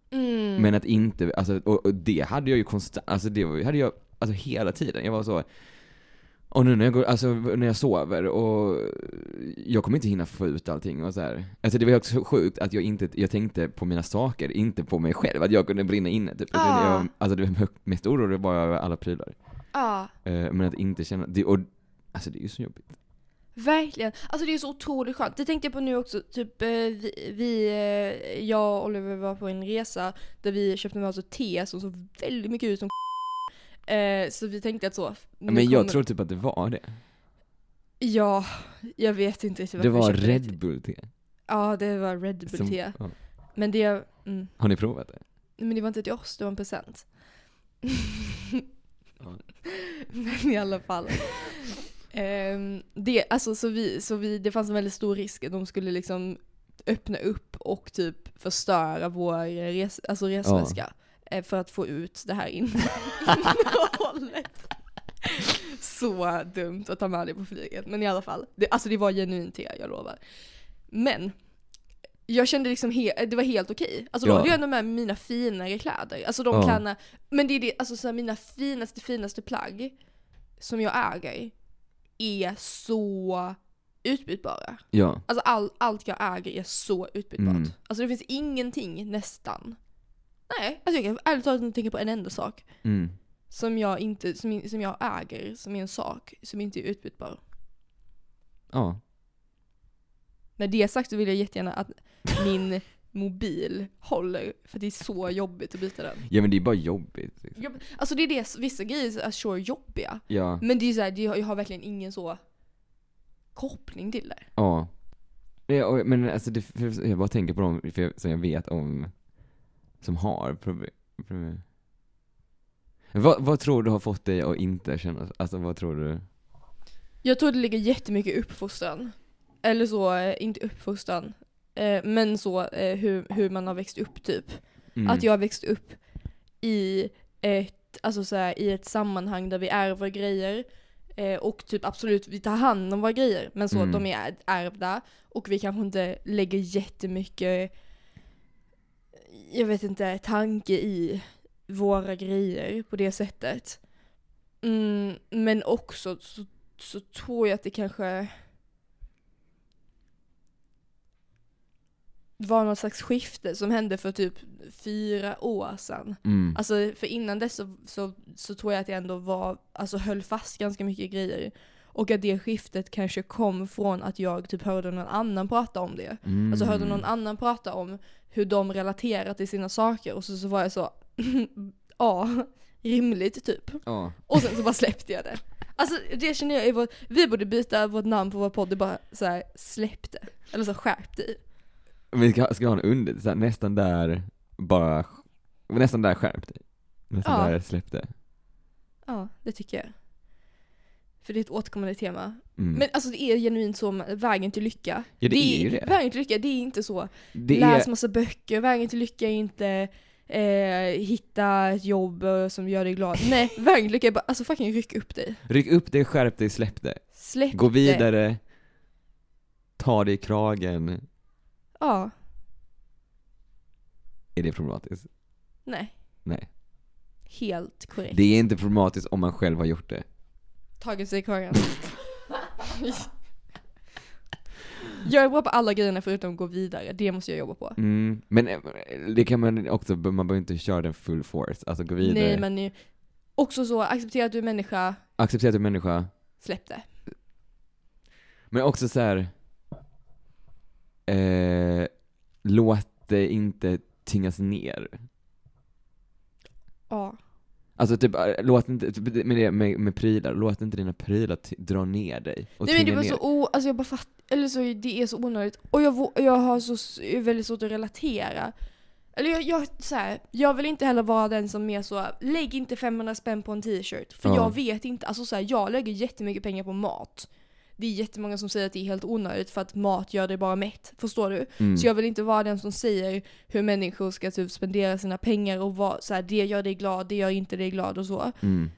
Mm.
Men att inte, alltså, och, och det hade jag ju konstant, alltså det var, ju- hade jag alltså, hela tiden. Jag var så, och nu när jag, går, alltså, när jag sover och jag kommer inte hinna få ut allting och så här. Alltså det var ju också sjukt att jag inte, jag tänkte på mina saker, inte på mig själv, att jag kunde brinna inne typ. Utan
Ah.
Jag, alltså det var mest orolig var jag över alla prylar.
Ja.
Eh, men att inte känna, det, och alltså det är ju så jobbigt.
Verkligen. Alltså det är så otroligt skönt. Det tänkte jag på nu också. Typ eh, vi, vi eh, jag och Oliver var på en resa där vi köpte med oss ett te som såg väldigt mycket ut som Eh, så vi tänkte att så. nu
Men jag
kommer-
tror typ att det var det.
Ja, jag vet inte riktigt
Det
varför
var
jag köpte
Red Bull-te.
Ja, det var Red Bull
som-
te.
ja.
Men det, mm,
Har ni provat det?
men det var inte till oss, det var en present.
Ja.
Men i alla fall. Ehm, det, alltså, så vi, så vi, det fanns en väldigt stor risk att de skulle liksom öppna upp och typ förstöra vår res, alltså resväska. eh, För att få ut det här innehållet. Så dumt att ta med det på flyget. Men i alla fall. Det, alltså det var genuint te, jag lovar. Men. Jag kände liksom he- det var helt okej. Alltså då
Ja.
hade jag ändå med mina finare kläder. Alltså de
Ja.
kan, men det är det, alltså så här, mina finaste finaste plagg som jag äger är så utbytbara.
Ja.
Alltså all, allt jag äger är så utbytbart.
Mm.
Alltså det finns ingenting nästan. Nej, alltså jag kan ärligt talat inte tänka på en enda sak
Mm.
som jag, inte, som, som jag äger, som är en sak, som inte är utbytbar.
Ja.
Med det sagt så vill jag jättegärna att min mobil håller, för det är så jobbigt att byta den.
Ja men det är bara jobbigt. Liksom.
Jobb- Alltså det är det, vissa grejer är så alltså, jobbiga.
Ja.
Men det är ju såhär, det- jag har verkligen ingen så koppling till det.
Ja. Ja, och- Men alltså, det, för jag bara tänker på dem för jag, som jag vet om, som har problem. problem. Vad, vad tror du har fått dig att inte känna, alltså vad tror du?
Jag tror det ligger jättemycket i uppfostran. Eller så, eh, inte uppfostran, eh, men så eh, hur, hur man har växt upp typ.
Mm.
Att jag har växt upp i ett, alltså så här, i ett sammanhang där vi ärver grejer. Eh, och typ absolut, vi tar hand om våra grejer. Men så
Mm.
att de är ärvda. Och vi kanske inte lägger jättemycket, jag vet inte, tanke i våra grejer på det sättet. Mm, men också så, så tror jag att det kanske var något slags skifte som hände för typ fyra år sedan.
Mm.
Alltså för innan dess så, så, så tror jag att jag ändå var, alltså höll fast ganska mycket grejer. Och att det skiftet kanske kom från att jag typ hörde någon annan prata om det.
Mm.
Alltså hörde någon annan prata om hur de relaterar till sina saker och så, så var jag så, ja, rimligt typ.
Ja.
Och sen så bara släppte jag det. Alltså det känner jag är vår, vi borde byta vårt namn på vår podd, det är bara så här, släpp det. Eller så här, skärp dig.
Vi ska, ska ha en under, så här, nästan där, bara, nästan där skärp dig. Nästan
Ja.
där släpp det.
Ja, det tycker jag. För det är ett återkommande tema.
Mm.
Men alltså det är genuint så, med vägen till lycka.
Ja, det är ju det.
Vägen till lycka, det är inte så.
det
Läs
är,
massa böcker, vägen till lycka är inte eh, hitta ett jobb eh, som gör dig glad. Nej, vägen till lycka är bara, alltså fucking ryck upp dig.
ryck upp dig, skärp dig, släpp det.
Släpp
Gå
det.
vidare, ta dig i kragen.
Ja,
Är det problematiskt?
nej.
Nej.
Helt korrekt.
Det är inte problematiskt om man själv har gjort det.
Tagit sig i kragen. jag är bra på alla grejerna förutom gå vidare, det måste jag jobba på.
Mm. Men eh, det kan man också, man behöver inte köra den full force, alltså gå vidare.
Nej men nu, också så, acceptera att du är människa,
Acceptera att du är människa.
släpp det.
Men också så här. Eh, låt det inte tyngas ner.
Ja.
Alltså typ, eh, låt inte, typ det- med, det, med, med prylar, låt inte dina prylar ty- dra ner dig. Och
Nej men det
tynga
var
ner.
så o, alltså jag bara fatt, eller så det är så onödigt. Och jag, vå- jag har så s- väldigt svårt att relatera. Eller jag, jag, så här, jag vill inte heller vara den som är så, lägg inte 500 spänn på en t-shirt. För
Ja.
jag vet inte, alltså så här, jag lägger jättemycket pengar på mat. Det är jättemånga som säger att det är helt onödigt för att mat gör dig bara mätt. Förstår du?
Mm.
Så jag vill inte vara den som säger hur människor ska typ spendera sina pengar och vad, så här, det gör dig glad, det gör inte dig glad och så.
Mm.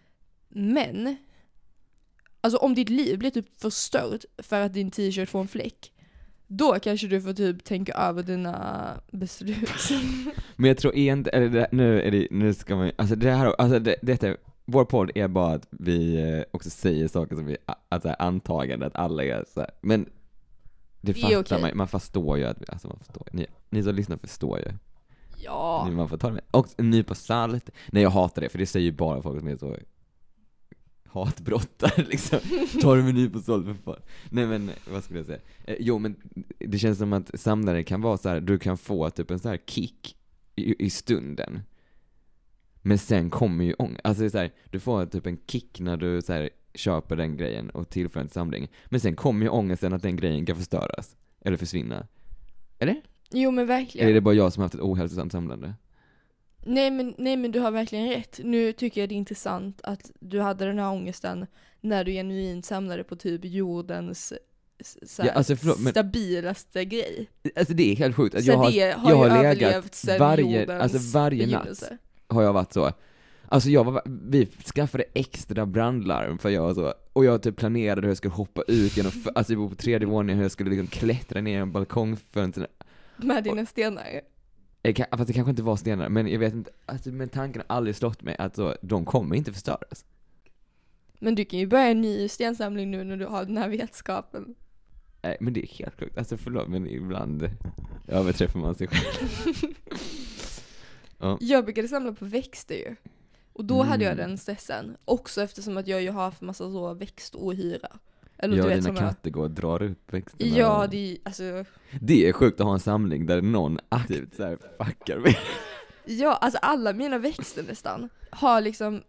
Men, alltså om ditt liv blir typ förstört för att din t-shirt får en fläck, då kanske du får typ tänka över dina beslut.
Men jag tror inte, eller det, nu är det, nu ska man alltså det här, alltså det, detta, är- vår podd är bara att vi eh, också säger saker som vi, a- alltså är antagande att alla gör så här. men det
Det är
fattar
okej.
man man förstår ju att, vi- alltså man förstår, ni, ni som lyssnar förstår ju.
ja.
Man får ta det med, och en nypa salt. Nej jag hatar det, för det säger ju bara folk som är så hatbrottare liksom. Ta det med en nypa salt för fan. Nej men, vad skulle jag säga? Eh, jo men, det känns som att samlare kan vara så här. du kan få typ en så här kick i, i stunden. Men sen kommer ju ångest. Alltså det är så här, du får typ en kick när du så här, köper den grejen och tillför en samling. Men sen kommer ju ångesten att den grejen kan förstöras. Eller försvinna.
Jo men verkligen.
Eller är det bara jag som har haft ett ohälsosamt samlande?
Nej men, nej men du har verkligen rätt. Nu tycker jag det är intressant att du hade den här ångesten när du genuint samlade på typ jordens s- så här,
Ja, alltså, förlåt, men-
stabilaste grej.
Alltså det är helt sjukt. Att
Så
jag har,
det har
jag har
ju
legat
överlevt sedan
varje,
jordens
alltså varje natt
begynnelse.
har jag varit så. Alltså jag var, vi skaffade extra brandlarm för jag var så, och jag typ planerade hur jag skulle hoppa ut genom, fö- alltså vi bor på tredje våningen, hur jag skulle liksom klättra ner genom balkongfönstren.
Med dina stenar.
Eh, ka- Fast det kanske inte var stenar, men jag vet inte, alltså, men tanken har aldrig slått mig att så, de kommer inte förstöras.
Men du kan ju börja en ny stensamling nu när du har den här vetskapen.
Nej, Eh, men det är helt sjukt. Alltså förlåt, men ibland överträffar man sig själv.
Jag brukade samla på växter ju. Och då hade jag
Mm.
den stressen. Också eftersom att jag ju har haft massa så växtohyra. Eller
jag
du
och
vet
dina
som jag...
katter går och drar upp växterna.
Ja, det är ju- alltså,
Det är sjukt att ha en samling där någon aktivt såhär fuckar med.
ja, alltså alla mina växter nästan har liksom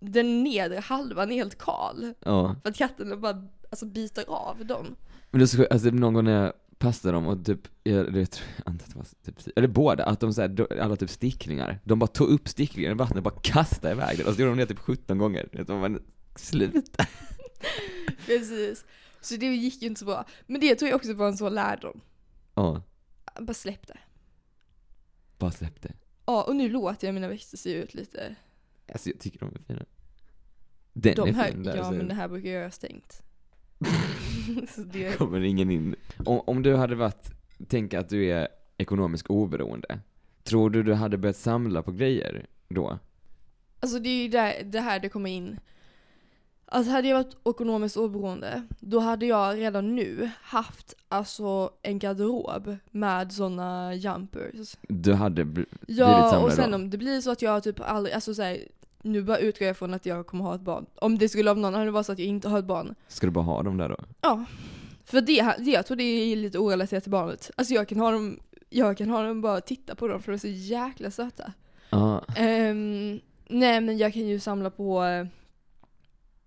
den nedre halvan är helt kal.
Ja.
För att katterna bara alltså, biter av dem.
Men det är så sjukt, alltså någon gång när jag passade dem och typ, eller jag tror- jag antar att det var typ, eller båda, att de såhär, alla typ sticklingar, de bara tog upp sticklingen i vattnet och bara kastade iväg den och så gjorde de det typ 17 gånger. Vet du, Man bara, slut.
Precis. Så det gick ju inte så bra. Men det tror jag också var en sån lärdom.
Ja,
Bara släpp det.
bara släpp det.
Ja, och nu låter jag mina växter se ut lite.
Alltså jag tycker de är fina. Den
De
är
här,
fin där.
ja
så-
men det här brukar jag göra stängt. så det,
kommer ingen in. Om, om du hade varit, tänk att du är ekonomiskt oberoende, tror du du hade börjat samla på grejer då?
alltså det är ju där, det här det kommer in. Alltså hade jag varit ekonomiskt oberoende, då hade jag redan nu haft alltså en garderob med såna jumpers.
Du hade bl- blivit
Ja,
samlare
och sen
då?
om det blir så att jag typ aldrig, alltså så här, nu bara utgår jag från att jag kommer ha ett barn. Om det skulle av någon anledning vara så att jag inte har ett barn,
Ska du bara ha dem där då?
Ja. För det, det jag tror det är lite orelaterat till barnet. Alltså jag kan ha dem, jag kan ha dem bara och titta på dem för de är så jäkla söta.
Ja.
Ehm, nej men jag kan ju samla på... eh,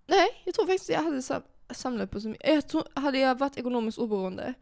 Nej, jag tror faktiskt jag hade sam, samlat på så mycket. Jag tror, hade jag varit ekonomiskt oberoende,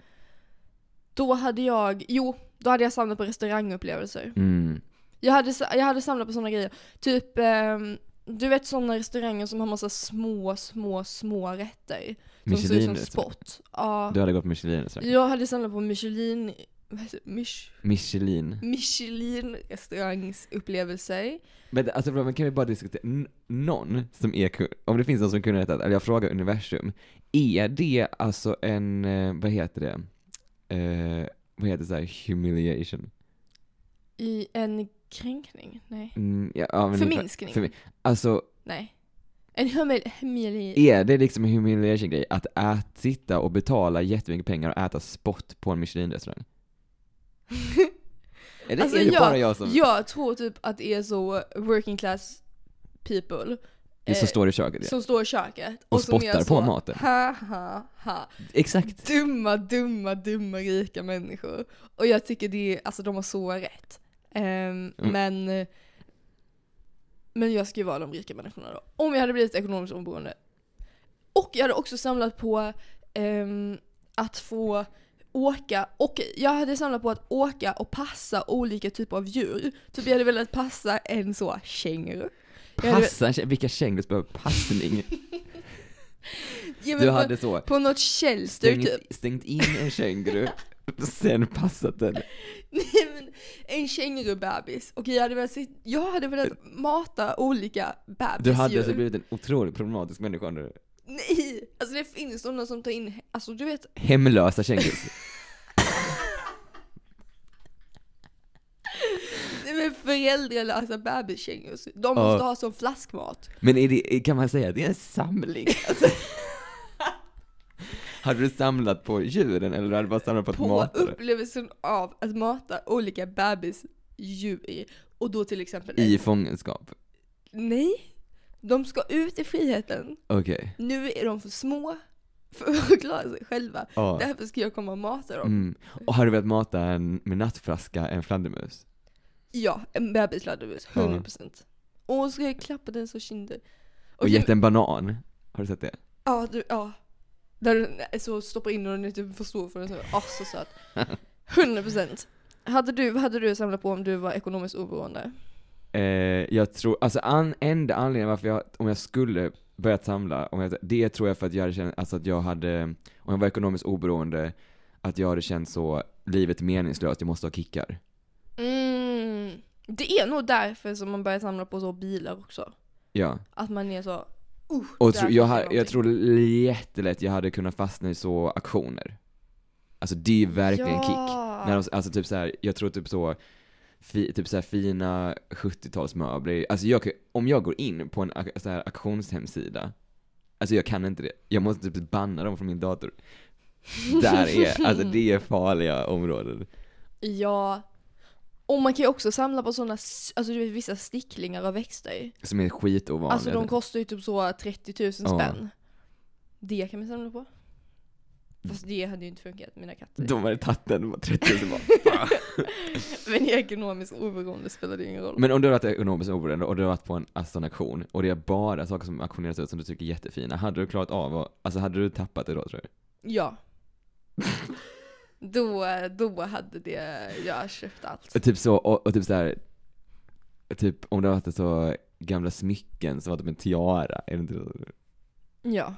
då hade jag, jo, då hade jag samlat på restaurangupplevelser.
Mm.
Jag hade, sa- jag hade samlat på sådana grejer. Typ, ehm, du vet sådana restauranger som har massa små, små, små rätter. Som ser ut som
Michelin. liksom. typ.
spott. Ja.
Du hade gått Michelin så.
Jag hade samlat på Michelin, vad heter det? Mich,
Michelin.
Michelin restaurangupplevelser.
Men alltså förlåt, men kan vi bara diskutera, N- någon som är, ku- om det finns någon som kunde detta, eller jag frågar universum, är det alltså en, eh, vad heter det, eh, vad heter det så här, humiliation?
I en kränkning? Nej.
Mm, ja, ja, men ungefär.
Förminskning?
förmin- Alltså
Nej. En humil... humil
Är det liksom en humiliation grej att ät, sitta och betala jättemycket pengar och äta spott på en Michelin-restaurang? Eller
Alltså,
är det
jag-
bara jag som...
jag tror typ att det är så working class people
som
eh,
står i köket ja.
som står i köket
Och
som
spottar
är
på
så,
maten.
Ha, ha, ha.
Exakt.
Dumma, dumma, dumma rika människor. Och jag tycker det är, alltså de har så rätt. Ehm,
Mm.
Men men jag ska ju vara de rika människorna då. Om jag hade blivit ekonomiskt oberoende. Och jag hade också samlat på ehm, att få åka, och jag hade samlat på att åka och passa olika typer av djur. Typ jag hade velat passa en så känguru. Jag hade-
Passa, vilka kängor som behöver passning.
Ja, men
Du
på,
hade så
på något shelter typ.
stängt, stängt in en känguru, sen passat den.
Nej men en kängurubebis. Och jag hade velat, se- jag hade velat mata olika bebisdjur.
Du hade alltså blivit en otroligt problematisk människa nu.
Nej! Alltså det finns sådana som tar in, alltså du vet.
Hemlösa kängurus.
Nej men föräldralösa bebiskängurus. De
Ja.
måste ha som flaskmat.
Men är det, kan man säga att det är en samling? Alltså, hade du samlat på djuren eller hade du bara samlat på att
På
mata det?
upplevelsen av att mata olika bebisdjur. Och då till exempel
I fångenskap?
Nej! De ska ut i friheten.
Okej.
Nu är de för små för att klara sig själva.
Ja.
Därför ska jag komma och mata dem.
Mm. Och har du velat mata en, med nattflaska en fladdermus?
Ja, en bebisladdermus. 100%. Och så ska jag klappa den så kinder.
Och gett en banan. Har du sett det?
Ja, du, ja. Där du nej, så stoppar in och den är typ för stor för den. Så, ah, så söt. 100 procent. Hade du, vad hade du samlat på om du var ekonomiskt oberoende?
Eh, jag tror, alltså an, enda anledningen varför jag, om jag skulle börjat samla, om jag, det tror jag för att jag hade känt, alltså att jag hade, om jag var ekonomiskt oberoende, att jag hade känt så, livet är meningslöst, jag måste ha kickar.
Mm. Det är nog därför som man börjar samla på så bilar också.
Ja.
Att man är så...
Och
Där
tro,
fick jag
jag, ha- jag
någonting.
tror jättelätt jag hade kunnat fastna i så aktioner. Alltså det är verkligen en kick. När de, alltså typ så här, jag tror typ så, fi, typ så här fina 70-talsmöbler. Alltså jag, kan- om jag går in på en ak- så här auktionshemsida, alltså jag kan inte det. Jag måste typ banna dem från min dator. Där är, alltså det är farliga områden.
Ja. Och man kan ju också samla på sådana, alltså du vet vissa sticklingar av växter.
Som är skitovanliga.
Alltså de kostar ju typ så 30 000
Ja.
spänn. Det kan man samla på. Fast det hade ju inte funkat, mina katter.
de hade tagit den, de var 30 000 bara.
Men i ekonomiskt oberoende spelar det ingen roll.
Men om du har varit ekonomiskt oberoende och du har varit på en alltså, en auktion och det är bara saker som auktioneras ut som du tycker är jättefina, hade du klarat av att, alltså hade du tappat det då tror du?
Ja. då, då hade det, jag köpt allt.
Och Typ så, och, och typ så här. typ om det har varit så gamla smycken som var typ en tiara, är det inte så?
Ja.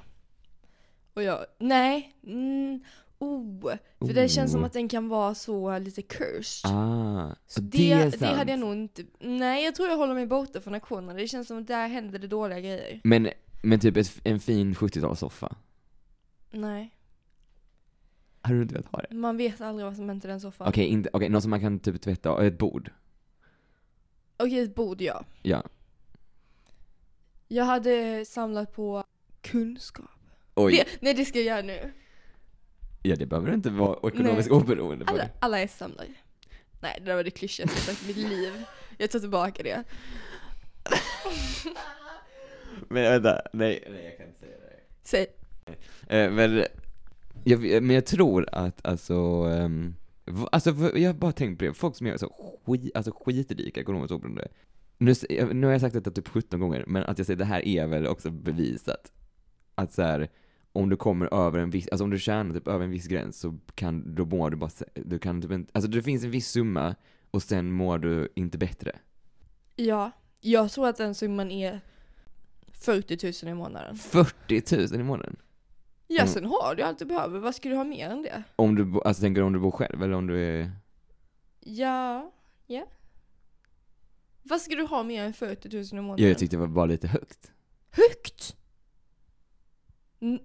Och jag, nej, mm, oh. För det känns som
Oh.
att den kan vara så lite cursed.
Ah,
Så
och
det,
är
det,
sant.
hade jag nog inte, nej jag tror jag håller mig borta från auktionerna. Det känns som att där händer det dåliga grejer.
Men, men typ ett, en fin 70-talssoffa,
Nej.
hade du inte velat ha det?
Man vet aldrig vad som händer i den soffan.
Okej, inte, okej, något som man kan typ tvätta, och ett bord.
Okej, ett bord ja.
Ja.
Jag hade samlat på kunskap.
Oj,
Det, nej det ska jag göra nu.
ja det behöver du inte vara ekonomiskt oberoende på.
Alla, alla är samlare. Nej, det där var det klyschigaste jag sagt i mitt liv. Jag tar tillbaka det.
Men vänta, nej, nej jag kan inte säga det.
Säg.
Eh, men, jag, men jag tror att alltså, ehm, v- alltså v- jag har bara tänkt på det, folk som är så skit, alltså skitrika ekonomiskt oberoende. Nu, s- jag- nu har jag sagt detta typ 17 gånger, men att jag säger det här är väl också bevisat. Att så här, om du kommer över en viss, alltså om du tjänar typ över en viss gräns så kan, då mår du bara, sä- du kan typ inte, alltså det finns en viss summa och sen mår du inte bättre.
Ja, jag tror att den summan är 40 000 i månaden.
40 000 i månaden.
Ja,
Mm.
sen har du allt du behöver. Vad ska du ha mer än det?
Om du, bo- alltså tänker du om du bor själv eller om du är,
Ja, ja. Vad ska du ha mer än 40 000 i månaden?
jag tyckte det var bara lite högt.
Högt! N-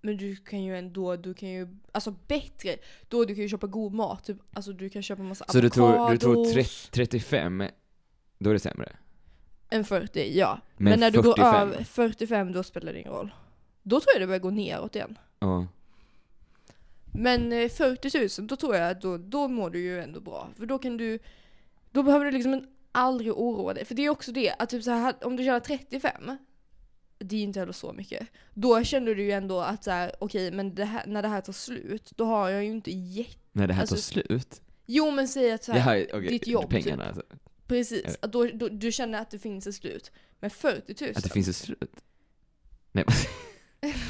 Men du kan ju ändå, du kan ju, alltså bättre, då du kan ju köpa god mat, typ, alltså du kan köpa massa
Så du tror, du tror
avokados.
tre- 35, då är det sämre?
En 40, ja.
Men
Men, när du går
45.
över 45 då spelar det ingen roll. Då tror jag det börjar gå neråt igen.
Ja.
Men eh, 40 000 då tror jag att då, då mår du ju ändå bra. För då kan du, då behöver du liksom en- aldrig oroa dig. För det är också det att typ så här, om du tjänar 35, det är ju inte heller så mycket. Då känner du ju ändå att så här, okej men det här, när det här tar slut, då har jag ju inte jätte...
När det här
Alltså,
tar slut?
Jo men säg att så
Det
här,
här, okej,
ditt jobb, typ.
pengarna alltså.
precis, att då, då, du känner att det finns ett slut. Men 40 000,
Att det finns ett slut?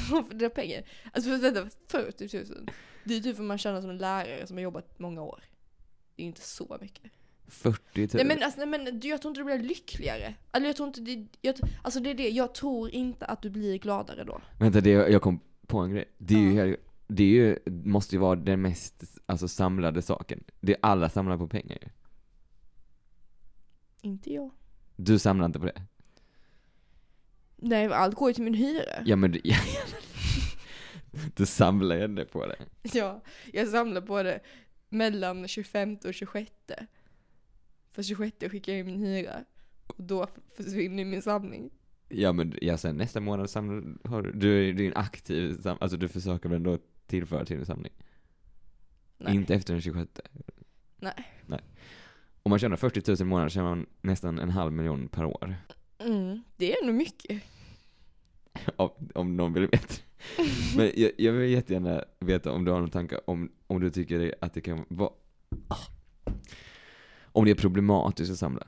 för dina pengar. Alltså för vänta, 40 000. Det är typ vad man tjänar som en lärare som har jobbat många år. Det är inte så mycket.
40 000?
Nej men, alltså, nej, men du- jag tror inte du blir lyckligare. Alltså, jag tror inte det, jag, alltså det är det, jag tror inte att du blir gladare då.
Vänta, det, jag kom på en grej. Det är ju,
Ja.
helt- det är ju, måste ju vara den mest alltså, samlade saken. Det är alla samlar på pengar ju.
Inte jag.
Du samlar inte på det?
Nej, allt går ju till min hyra.
Ja men du, ja, ja, men- du samlar ju ändå på det.
Ja, jag samlar på det mellan 25 och 26. För 26 skickar jag in min hyra. Och då försvinner ju min samling.
Ja men ja, sen nästa månad samlar har du, du är du är en aktiv sam, alltså du försöker väl ändå tillföra till din samling?
Nej.
Inte efter den 26?
Nej.
Nej. Om man tjänar 40 000 i månaden tjänar man nästan en halv miljon per år.
Mm, det är nog mycket.
Om, om någon vill veta. Men jag, jag vill jättegärna veta om du har någon tanke om, om du tycker det, att det kan vara... Ah. Om det är problematiskt att samla.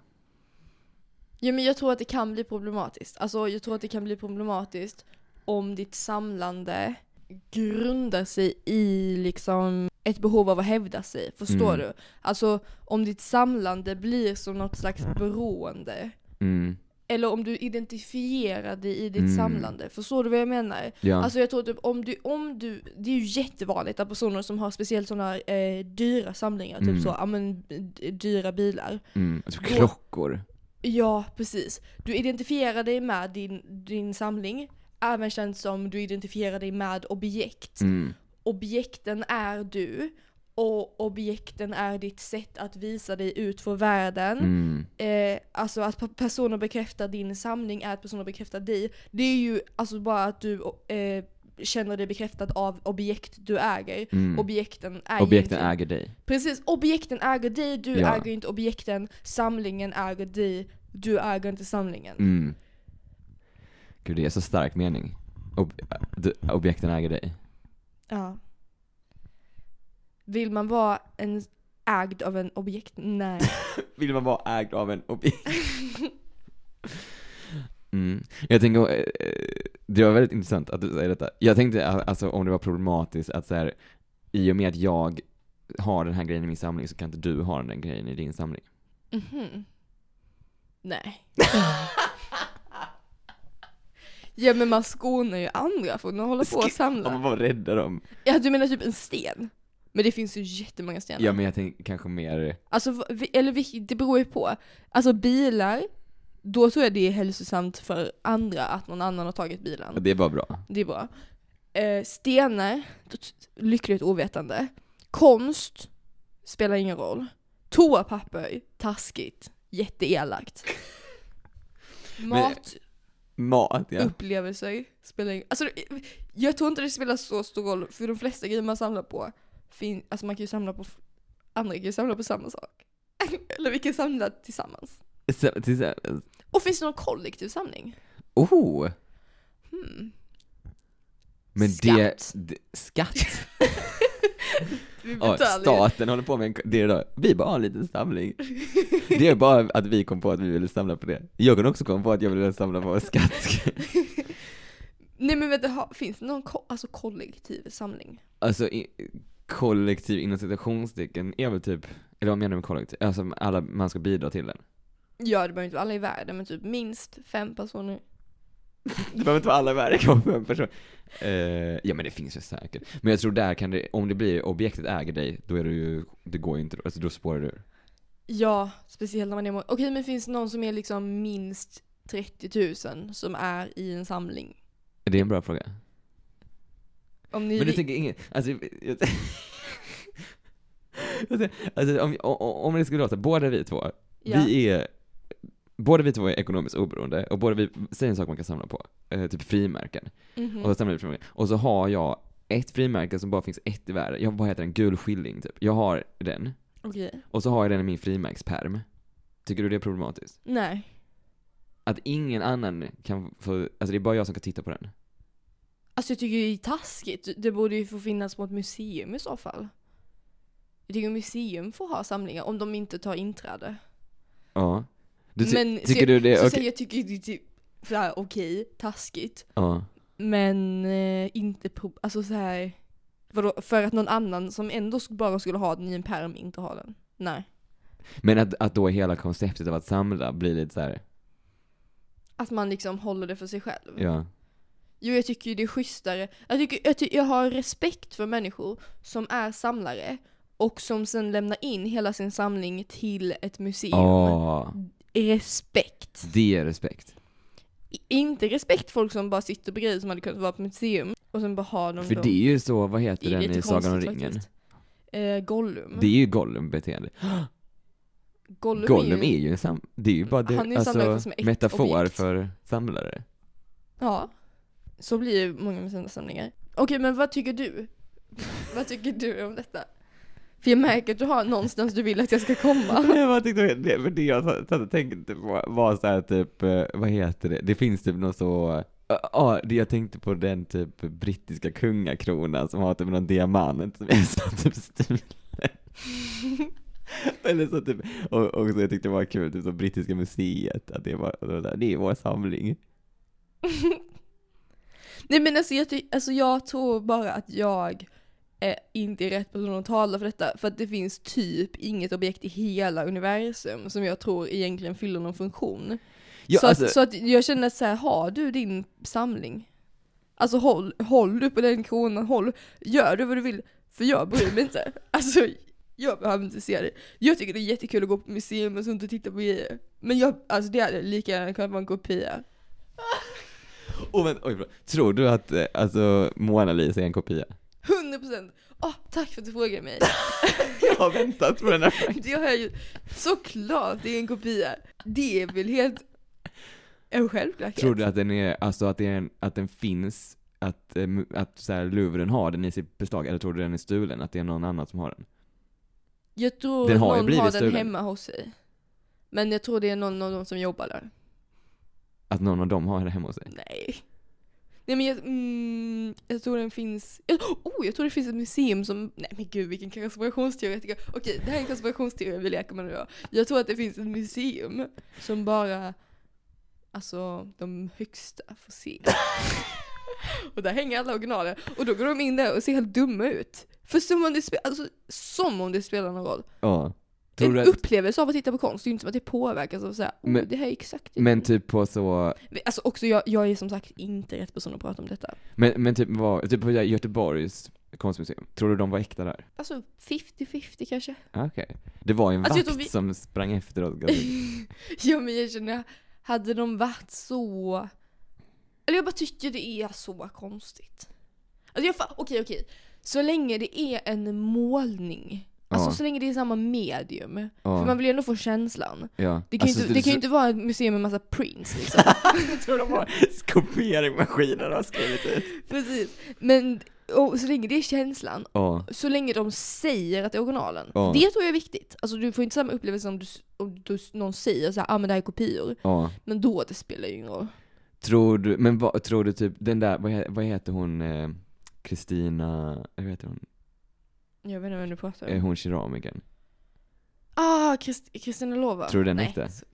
Jo men jag tror att det kan bli problematiskt. Alltså jag tror att det kan bli problematiskt om ditt samlande grundar sig i liksom ett behov av att hävda sig. Förstår
Mm.
du? Alltså om ditt samlande blir som något slags beroende.
Mm.
Eller om du identifierar dig i ditt
Mm.
samlande. Förstår du vad jag menar?
Ja.
Alltså jag tror typ om du, om du, det är ju jättevanligt att personer som har speciellt sådana eh, dyra samlingar,
Mm.
typ så, ja men d- dyra bilar.
mm. Alltså,
då-
klockor.
Ja, precis. Du identifierar dig med din, din samling, även känt som du identifierar dig med objekt.
Mm.
Objekten är du, och objekten är ditt sätt att visa dig ut för världen.
Mm.
Eh, alltså att pe- personer bekräftar din samling är att personer bekräftar dig. Det är ju alltså bara att du eh, känner dig bekräftad av objekt du äger.
Mm.
Objekten äger
Objekten
inte-
äger dig.
Precis, objekten äger dig, du
Ja.
äger inte objekten, samlingen äger dig, du äger inte samlingen.
Mm. Gud, det är så stark mening. Ob- du, objekten äger dig.
Ja. Vill man vara en ägd av en objekt? Nej.
Vill man vara ägd av en objekt? Mm. Jag tänker, eh, det var väldigt intressant att du säger detta. Jag tänkte a- alltså om det var problematiskt att så här, i och med att jag har den här grejen i min samling så kan inte du ha den här grejen i din samling.
Mhm. Nej. ja men man skonar ju andra från att hålla på och
Om man
samla.
bara räddar dem.
Ja du menar typ en sten? Men det finns ju jättemånga stenar.
Ja men jag tänker kanske mer,
Alltså, v- vi- eller vi- det beror ju på. Alltså bilar, då tror jag det är hälsosamt för andra att någon annan har tagit bilen.
det är bara bra.
Det är bra. Eh, stenar, t- t- lyckligt ovetande. Konst, spelar ingen roll. Toapapper, taskigt. Jätteelakt. Mat,
Mat ja.
upplevelser, spelar ingen Alltså, jag tror inte det spelar så stor roll, för de flesta grejer man samlar på, fin- alltså man kan ju samla på, f- andra kan ju samla på samma sak. Eller vi kan samla tillsammans.
Så- till så här-
Och finns det någon kollektiv samling?
Oh!
Hmm.
Men
Skatt.
det, det skatt?
Vi
Ja,
betalar ju.
staten håller på med en, det idag. Vi bara har en liten samling. Det är bara att vi kom på att vi ville samla på det. Jag kunde också komma på att jag ville samla på skatt.
Nej men vänta, ha, finns det någon ko- alltså, kollektiv samling?
Alltså i, kollektiv inom citationstecken är väl typ, eller vad menar du med kollektiv? Alltså alla, man ska bidra till den.
Ja det behöver inte vara alla i världen men typ minst fem personer.
Det behöver inte vara alla i världen, det kan vara fem personer. Eh, ja men det finns ju säkert. Men jag tror där kan det, om det blir objektet äger dig, då är det ju, det går ju inte, då. alltså då spårar du ur.
Ja, speciellt när man är många. Okej men finns det någon som är liksom minst 30 000 som är i en samling?
Det är en bra fråga.
Om ni
Men du
vill-
tänker ingen, alltså, jag, alltså, alltså om, om, om det skulle låta, båda vi två,
ja.
vi är, båda vi två är ekonomiskt oberoende och båda vi, säg en sak man kan samla på, eh, typ frimärken.
Mhm.
Och så samlar vi frimärken. Och så har jag ett frimärke som bara finns ett i världen, jag, vad heter den, gul skilling typ. Jag har den,
Okej.
och så har jag den i min frimärkspärm. Tycker du det är problematiskt?
Nej.
Att ingen annan kan få, alltså det är bara jag som kan titta på den.
Alltså jag tycker det är taskigt. Det borde ju få finnas på ett museum i så fall. Jag tycker museum får ha samlingar om de inte tar inträde.
Ja. Du, ty-
Men-
tycker du det,
så
okej?
säger jag tycker det är typ såhär okej, taskigt.
Ja.
Men eh, inte pro- alltså så här. Vadå, för att någon annan som ändå sk- bara skulle ha den i en pärm inte har den? Nej.
Men att, att då hela konceptet av att samla blir lite så här,
Att man liksom håller det för sig själv.
ja.
Jo jag tycker ju det är schysstare. Jag, tycker, jag, ty- jag har respekt för människor som är samlare och som sen lämnar in hela sin samling till ett museum.
Ja,
Respekt.
det är respekt.
I- Inte respekt folk som bara sitter på grejer som hade kunnat vara på museum och sen bara har de
För
dem.
det är ju så, vad heter
Det är
den
lite
i Sagan om
konstigt
ringen?
faktiskt. Eh, Gollum.
Det är ju Gollum-beteende.
Gollum,
Gollum
är ju...
är ju en sam... Det är ju bara det,
Han är en samlare fast
alltså,
med ett
metafor
objekt.
för samlare.
Ja. Så blir ju många med sina samlingar. Okej men vad tycker du? vad tycker du om detta? För jag märker att du har någonstans du vill att jag ska komma.
Jag bara tyckte, det, men det jag satt satt och tänkte på var så här typ, eh, vad heter det, det finns typ något så, ja, ja, det jag tänkte på den typ brittiska kungakronan som har typ någon diamant som är så typ stulen. Eller så typ, och, och så jag tyckte det var kul, typ som Brittiska museet, att det var, det var där, det är vår samling.
Nej men alltså jag, ty- alltså jag tror bara att jag eh, inte är rätt person att tala för detta. För att det finns typ inget objekt i hela universum som jag tror egentligen fyller någon funktion.
Ja,
så,
alltså,
att, så att jag känner att så här, har du din samling? Alltså håll, håll du på den kronan, håll, gör du vad du vill. För jag bryr mig inte. Alltså jag behöver inte se det. Jag tycker det är jättekul att gå på museum och sånt och titta på grejer. Men jag, alltså det hade lika gärna kunnat vara en kopia.
oh, men, oj, förlåt. tror du att eh, alltså, Mona Lisa är en kopia?
100%! Åh, Ah, tack för att du frågade mig.
Jag har väntat på den här
Det har jag ju. Såklart det är en kopia. Det är väl helt en självklarhet.
Tror du att den är, alltså att, det är en, att den finns, att, eh, mu- att så här, Louvren har den i sitt beslag, eller tror du den är stulen, att det är någon annan som har den?
Jag tror
Den
att
har ju
någon
blivit
har den
stulen.
hemma hos sig. Men jag tror det är någon av dem som jobbar där.
Att någon av dem har den hemma hos sig?
Nej. Nej men jag, mm, jag tror den finns, jag, oh jag tror det finns ett museum som, nej men gud vilken konspirationsteoretiker. Okej det här är en konspirationsteori vi leker med nu då. Jag tror att det finns ett museum som bara, alltså de högsta får se. och där hänger alla originaler. Och då går de in där och ser helt dumma ut. För som om det, spe, alltså, som om det spelar någon roll.
Ja. Tror
en
du att,
upplevelse av att titta på konst, det är ju inte som att det påverkas av såhär, oh,
Men-
det här är exakt det."
men typ på så,
Alltså också jag, jag är som sagt inte rätt person att prata om detta.
men, men typ, vad, typ på Göteborgs konstmuseum, tror du de var äkta där?
Alltså 50-50 kanske.
Ah, Okej. Det var ju en
Alltså, jag
vakt
tror vi-
som sprang efter oss. ganska-
ja men jag känner, hade de varit så... Eller jag bara tycker det är så konstigt. Alltså jag fa- okej okej. Så länge det är en målning. Alltså
Ja.
så länge det är samma medium.
Ja.
För man vill ju ändå få känslan.
Ja.
Det kan, ju
Alltså,
inte, det kan ju inte vara ett museum med massa prints liksom.
Jag tror de har kopieringsmaskiner har skrivit ut.
Precis. Men och, så länge det är känslan
Ja.
så länge de säger att det är originalen.
Ja.
Det tror jag är viktigt. Alltså du får inte samma upplevelse om, du, om du, någon säger så här, ah men det här är kopior.
Ja.
Men då det spelar ju ingen roll.
Tror du, men vad, tror du typ, den där, vad, he- vad heter hon, eh, Kristina, vad heter hon,
Jag vet inte vem du pratar
är
om.
Eh, hon keramikern?
Ah, Krist- Kristina Lova.
Tror du den
Nej.
hette?
Så-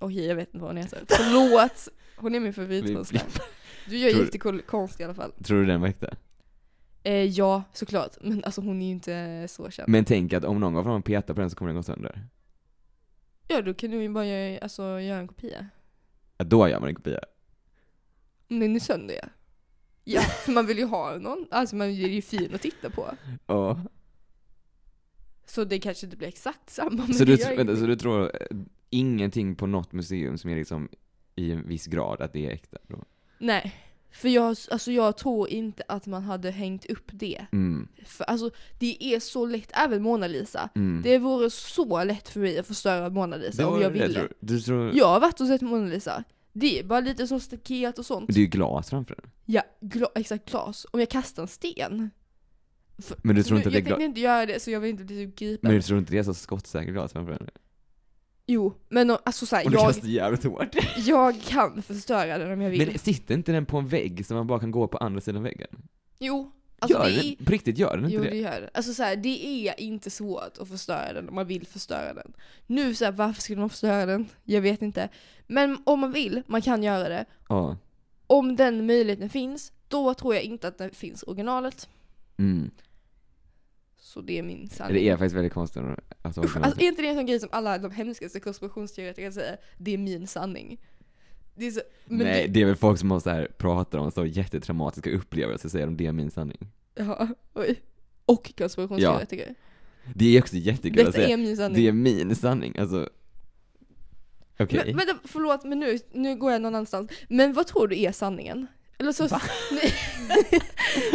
Okej, jag vet inte vad hon heter. Förlåt! Hon är min
Vi
favoritkonstnär. Du gör
Tror du-
jättekul konst i alla fall.
Tror du den var äkta?
Eh, ja, såklart. Men alltså hon är ju inte så känd.
Men tänk att om någon går fram och petar på den så kommer den gå sönder.
Ja, då kan du ju bara göra, alltså, göra en kopia.
Ja, då gör man en kopia.
Om den är sönder ja. Ja, för man vill ju ha någon. Alltså man är ju fin att titta på.
Ja.
Så det kanske inte blir exakt samma men
Så, du,
det gör
tr- vänta, så
ingenting.
du tror eh, ingenting på något museum som är liksom i en viss grad att det är äkta? Då?
Nej. För jag, alltså jag tror inte att man hade hängt upp det.
Mm.
För alltså det är så lätt, även Mona Lisa.
Mm.
Det vore så lätt för mig att förstöra Mona Lisa
Det var
om jag
det,
ville.
tror du. Du tror,
Jag har varit och sett Mona Lisa. Det är bara lite som staket och sånt.
det är ju glas framför den.
Ja, gla, exakt glas. Om jag kastar en sten. För,
Men du tror inte att
jag
det är glas?
tänkte inte göra det så jag vill inte bli typ gripen.
Men du tror inte det är så skottsäkert glas framför den?
Jo, men om- alltså såhär,
Och du
jag,
kastar jävligt hårt.
jag kan förstöra den om jag vill.
Men sitter inte den på en vägg så man bara kan gå på andra sidan väggen?
Jo, alltså
gör
det är,
den, på riktigt gör den inte
Jo
det?
det gör det. Alltså så här, det är inte svårt att förstöra den om man vill förstöra den. Nu så här, varför skulle man förstöra den? Jag vet inte. Men om man vill, man kan göra det.
Ja.
Om den möjligheten finns, då tror jag inte att det finns originalet.
Mm.
Så det är min sanning.
Det är faktiskt väldigt konstigt. Alltså,
Usch, alltså, är inte det en sån grej som alla de hemskaste konspirationsteoretiker säger? Det är min sanning. Det är så, men
Nej,
det-
det är väl folk som har så här, pratar om så jättetraumatiska upplevelser, säger de det är min sanning.
Ja, oj. Och konspirationsteoretiker.
Det är också jättekul att
Detta
säga.
är min sanning.
Det är min sanning, alltså. Okej.
Men, vänta, förlåt, men nu, nu går jag någon annanstans. Men vad tror du är sanningen? Eller så... Nej.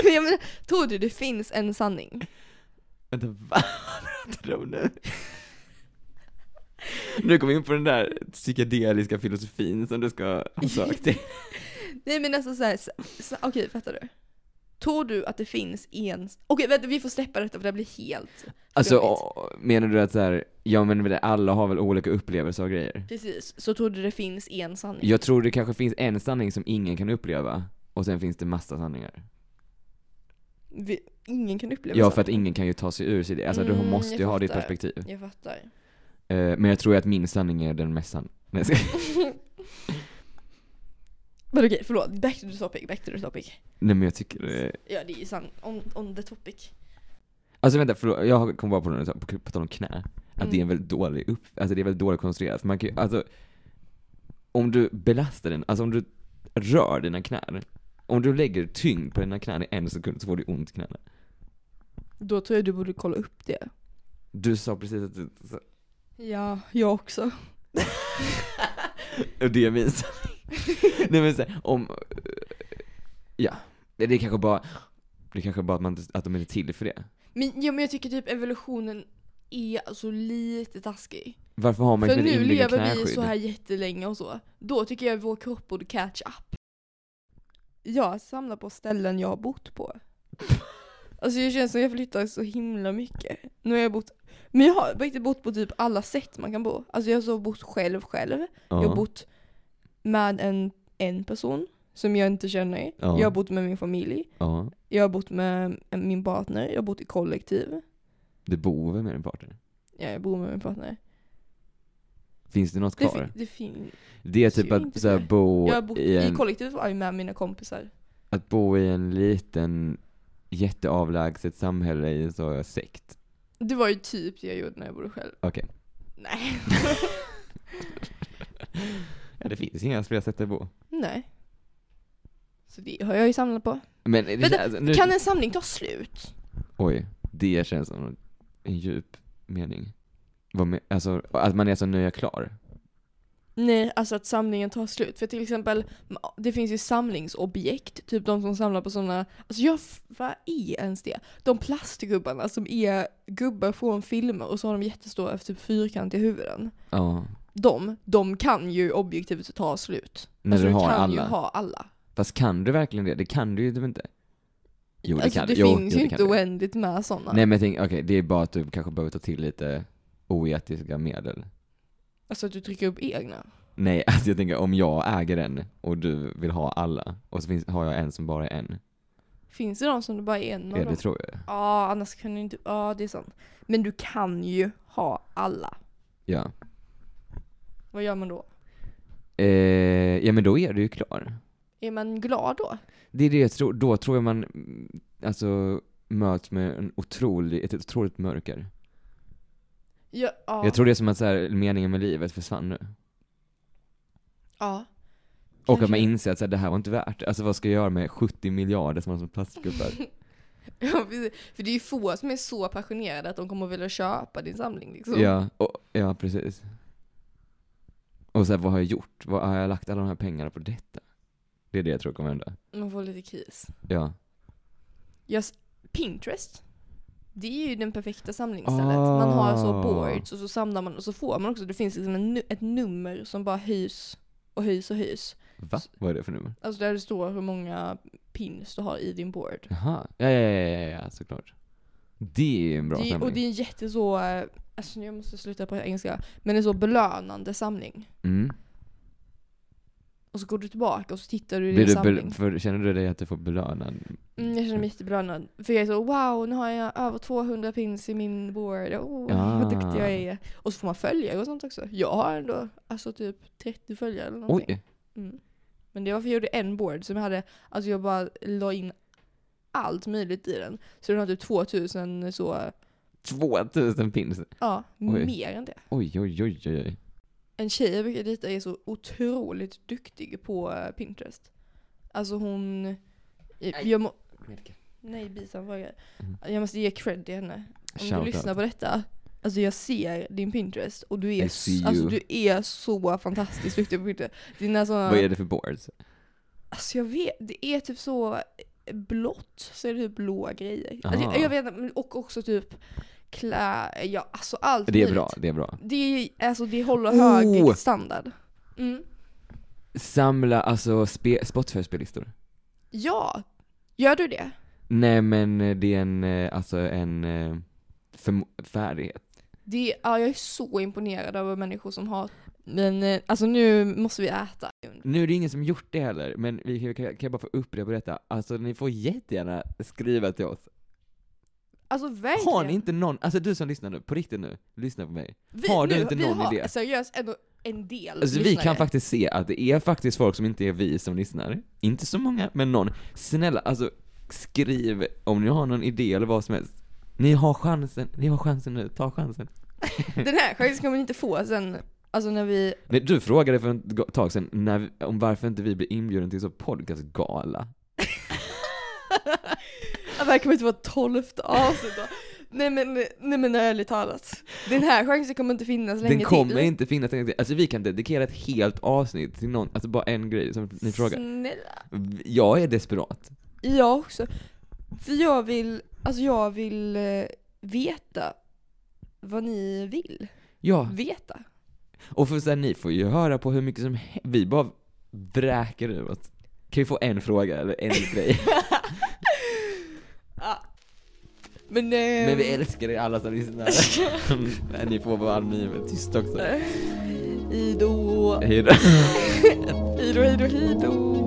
Men jag menar, tror du det finns en sanning?
Vänta, va? Vad pratar du om nu? Nu kom vi in på den där psykedeliska filosofin som du ska ha sökt till.
Nej men alltså såhär, så, så, okej fattar du? Tror du att det finns en... Okej vänta, vi får släppa detta för det här blir helt...
Alltså,
Flummigt.
å- menar du att så här, ja men det- alla har väl olika upplevelser av grejer?
Precis, så tror du det finns en sanning?
Jag tror det kanske finns en sanning som ingen kan uppleva, och sen finns det massa sanningar.
vi, ingen kan uppleva
Ja
samma.
för att ingen kan ju ta sig ur sig det, alltså
Mm,
du måste
jag
ju ha ditt
fattar.
perspektiv.
Jag fattar.
Eh, men jag tror ju att min sanning är den mest sanna. Nej, jag skojar.
Men okej, förlåt. Back to the topic, back to the topic.
Nej men jag tycker... eh,
Ja det är ju sant. On, on the topic.
Alltså vänta, förlåt, jag kom bara på det, på, på tal om knä. Att
Mm.
det är en väldigt dålig upp, alltså det är väldigt dåligt konstruerat. För man kan ju, alltså, om du belastar den, alltså om du rör dina knän, om du lägger tyngd på dina knän i en sekund så får du ont i knäna.
Då tror jag du borde kolla upp det.
Du sa precis att du, så-
Ja, jag också.
och det är min sanning. Nej men så här, om, eh, ja. Det är kanske bara, det är kanske bara att, man, inte- att de inte är till för det.
Men, ja, men jag tycker typ evolutionen är så lite taskig.
Varför har man
För
inte det
nu
inbyggda
lever vi
knäskydd?
så här jättelänge och så. Då tycker jag vår kropp borde catch up. Jag samlar på ställen jag har bott på. Alltså jag känner som jag flyttar så himla mycket. Nu har jag bott, men jag har på riktigt bott på typ alla sätt man kan bo. Alltså jag har så bott själv själv.
Ja.
Jag har bott med en, en person som jag inte känner.
Ja.
Jag har bott med min familj.
Ja,
Jag har bott med min partner. Jag har bott i kollektiv.
du bor väl med din partner?
Ja, jag bor med min partner.
Finns det något
Det,
kvar?
fin- det fin-
Det är
ser
typ
ju
att
inte
så här,
det.
bo
Jag har bott
i
i,
en,
kollektiv var jag med mina kompisar.
att bo i en liten jätteavlägset samhälle i en så sekt.
Det var ju typ det jag gjorde när jag bodde själv.
Okej.
Nej.
Ja, det finns inga fler sätt att bo.
Nej. Så det har jag ju samlat på.
Men det
Vänta,
känns, alltså, nu,
Kan en samling ta slut?
Oj, det känns som en djup mening. Vad men, alltså, att man är så nu är jag klar.
Nej, alltså att samlingen tar slut. För till exempel, ma- det finns ju samlingsobjekt. Typ de som samlar på sådana, alltså jag, f- vad är ens det? De plastgubbarna som är gubbar från filmer och så har de jättestora typ fyrkantiga huvuden.
Ja.
De, de kan ju objektivt ta slut.
När
alltså
du har
kan
alla.
ju ha alla.
Fast kan du verkligen det? Det kan du ju typ inte. Jo, det
alltså
kan
det
jo,
finns ju
jo, det
inte
kan du.
oändligt med sådana.
Nej men jag tänker, okej, det är bara att du kanske behöver ta till lite oetiska medel.
Alltså att du trycker upp egna.
Nej, alltså jag tänker om jag äger en och du vill ha alla och så finns, har jag en som bara är en.
Finns det någon som det bara är en av
Ja, det
dem?
tror jag.
Ja, annars kan du inte, ja det är sant. Men du kan ju ha alla.
Ja.
Vad gör man då?
Eh, ja, men då är du ju klar.
Är man glad då?
Det är det jag tror. Då tror jag man mm, alltså, möts med en otrolig, ett otroligt mörker.
Ja. ja.
Jag tror det är som att så här, meningen med livet försvann nu.
ja.
Och att
Kanske.
man inser att så här, det här var inte värt det. Alltså vad ska jag göra med 70 miljarder som har som plastgubbar?
Ja, precis. För det är ju få som är så passionerade att de kommer att vilja köpa din samling liksom.
ja, och, ja, precis. Och så här, vad har jag gjort? Vad har jag lagt alla de här pengarna på detta? Det är det jag tror kommer hända.
Man får lite kris.
Ja.
Just Pinterest. Det är ju den perfekta samlingsstället. Man har så
Ah.
boards och så samlar man och så får man också, det finns liksom en, nu- ett nummer som bara höjs och höjs och höjs.
Va? Vad är det för nummer?
Alltså där det står hur många pins du har i din board.
Jaha, ja, ja, ja, ja, ja, såklart. Det är en bra
det,
samling.
och det är en jätte så, eh, alltså jag måste sluta på engelska, men en så belönande samling.
mm.
Och så går du tillbaka och så tittar du i
Blir
din
du
samling.
bel- för, känner du dig att du får belönad?
Mm, jag känner mig jättebelönad. För jag är så wow, nu har jag över 200 pins i min board. Oh,
Ah.
Vad duktig jag är. Och så får man följare och sånt också. Jag har ändå alltså typ 30 följare eller någonting.
Oj!
Mm. Men det var för jag gjorde en board som jag hade, alltså jag bara la in allt möjligt i den. Så den hade typ 2000 så,
2000 pins!
ja,
Oj.
mer än det.
Oj, oj, oj, oj, oj.
En tjej jag brukar dejta är så otroligt duktig på eh, Pinterest. Alltså hon... Jag, jag må, nej, bisan frågar.
Mhm.
Jag måste ge cred till henne. Om
Shout
du lyssnar
out.
på detta. Alltså jag ser din Pinterest och du
I
är,
see you.
s- alltså, du är så fantastiskt duktig på Pinterest. Dina såna,
Vad är det för boards?
Alltså jag vet, det är typ så blått, så är det typ blå grejer.
Aha.
Alltså, jag, jag vet inte, men- och också typ klä, ja alltså allt
Det är
möjligt.
bra, det är bra.
Det, är, alltså, det håller
Oh!
hög standard. Mm.
Samla alltså spe- Spotify-spellistor?
Ja, gör du det?
Nej men eh, det är en, eh, alltså en eh, förmo- färdighet.
det ja, jag är så imponerad över människor som har Men eh, alltså nu måste vi äta.
Nu är det ingen som gjort det heller, men vi kan, kan jag bara få upprepa detta. Alltså ni får jättegärna skriva till oss.
Alltså verkligen.
Har ni inte någon, alltså du som lyssnar nu, på riktigt nu, lyssna på mig.
vi,
har du
nu,
inte
vi
någon
har
idé?
seriöst ändå en del
Alltså vi
lyssnare.
kan faktiskt se att det är faktiskt folk som inte är vi som lyssnar. Inte så många, men någon. Snälla, alltså skriv om ni har någon idé eller vad som helst. Ni har chansen, ni har chansen nu, ta chansen.
Den här chansen kommer ni inte få sen, alltså när vi...
Nej, du frågade för ett tag sedan när, vi- om varför inte vi blir inbjuden till så podcastgala.
Ja, Det här kommer inte vara tolfte avsnitt då. Nej men, nej men ärligt talat. Den här chansen kommer inte finnas länge
Den kommer
till.
inte finnas en gång till. Alltså vi kan dedikera ett helt avsnitt till någon, alltså bara en grej som ni frågar.
Snälla.
Jag är desperat.
Jag också. För jag vill, alltså jag vill eh, veta vad ni vill Mm.
Ja,
veta.
och för sen ni får ju höra på hur mycket som he- vi bara vräker ur oss. Kan vi få en fråga eller en grej?
ja. Men, eh,
Men vi älskar er alla som lyssnar. Men ni får vara anonyma, tyst också.
Hejdå,
Hejdå.
hejdå, hejdå, hejdå.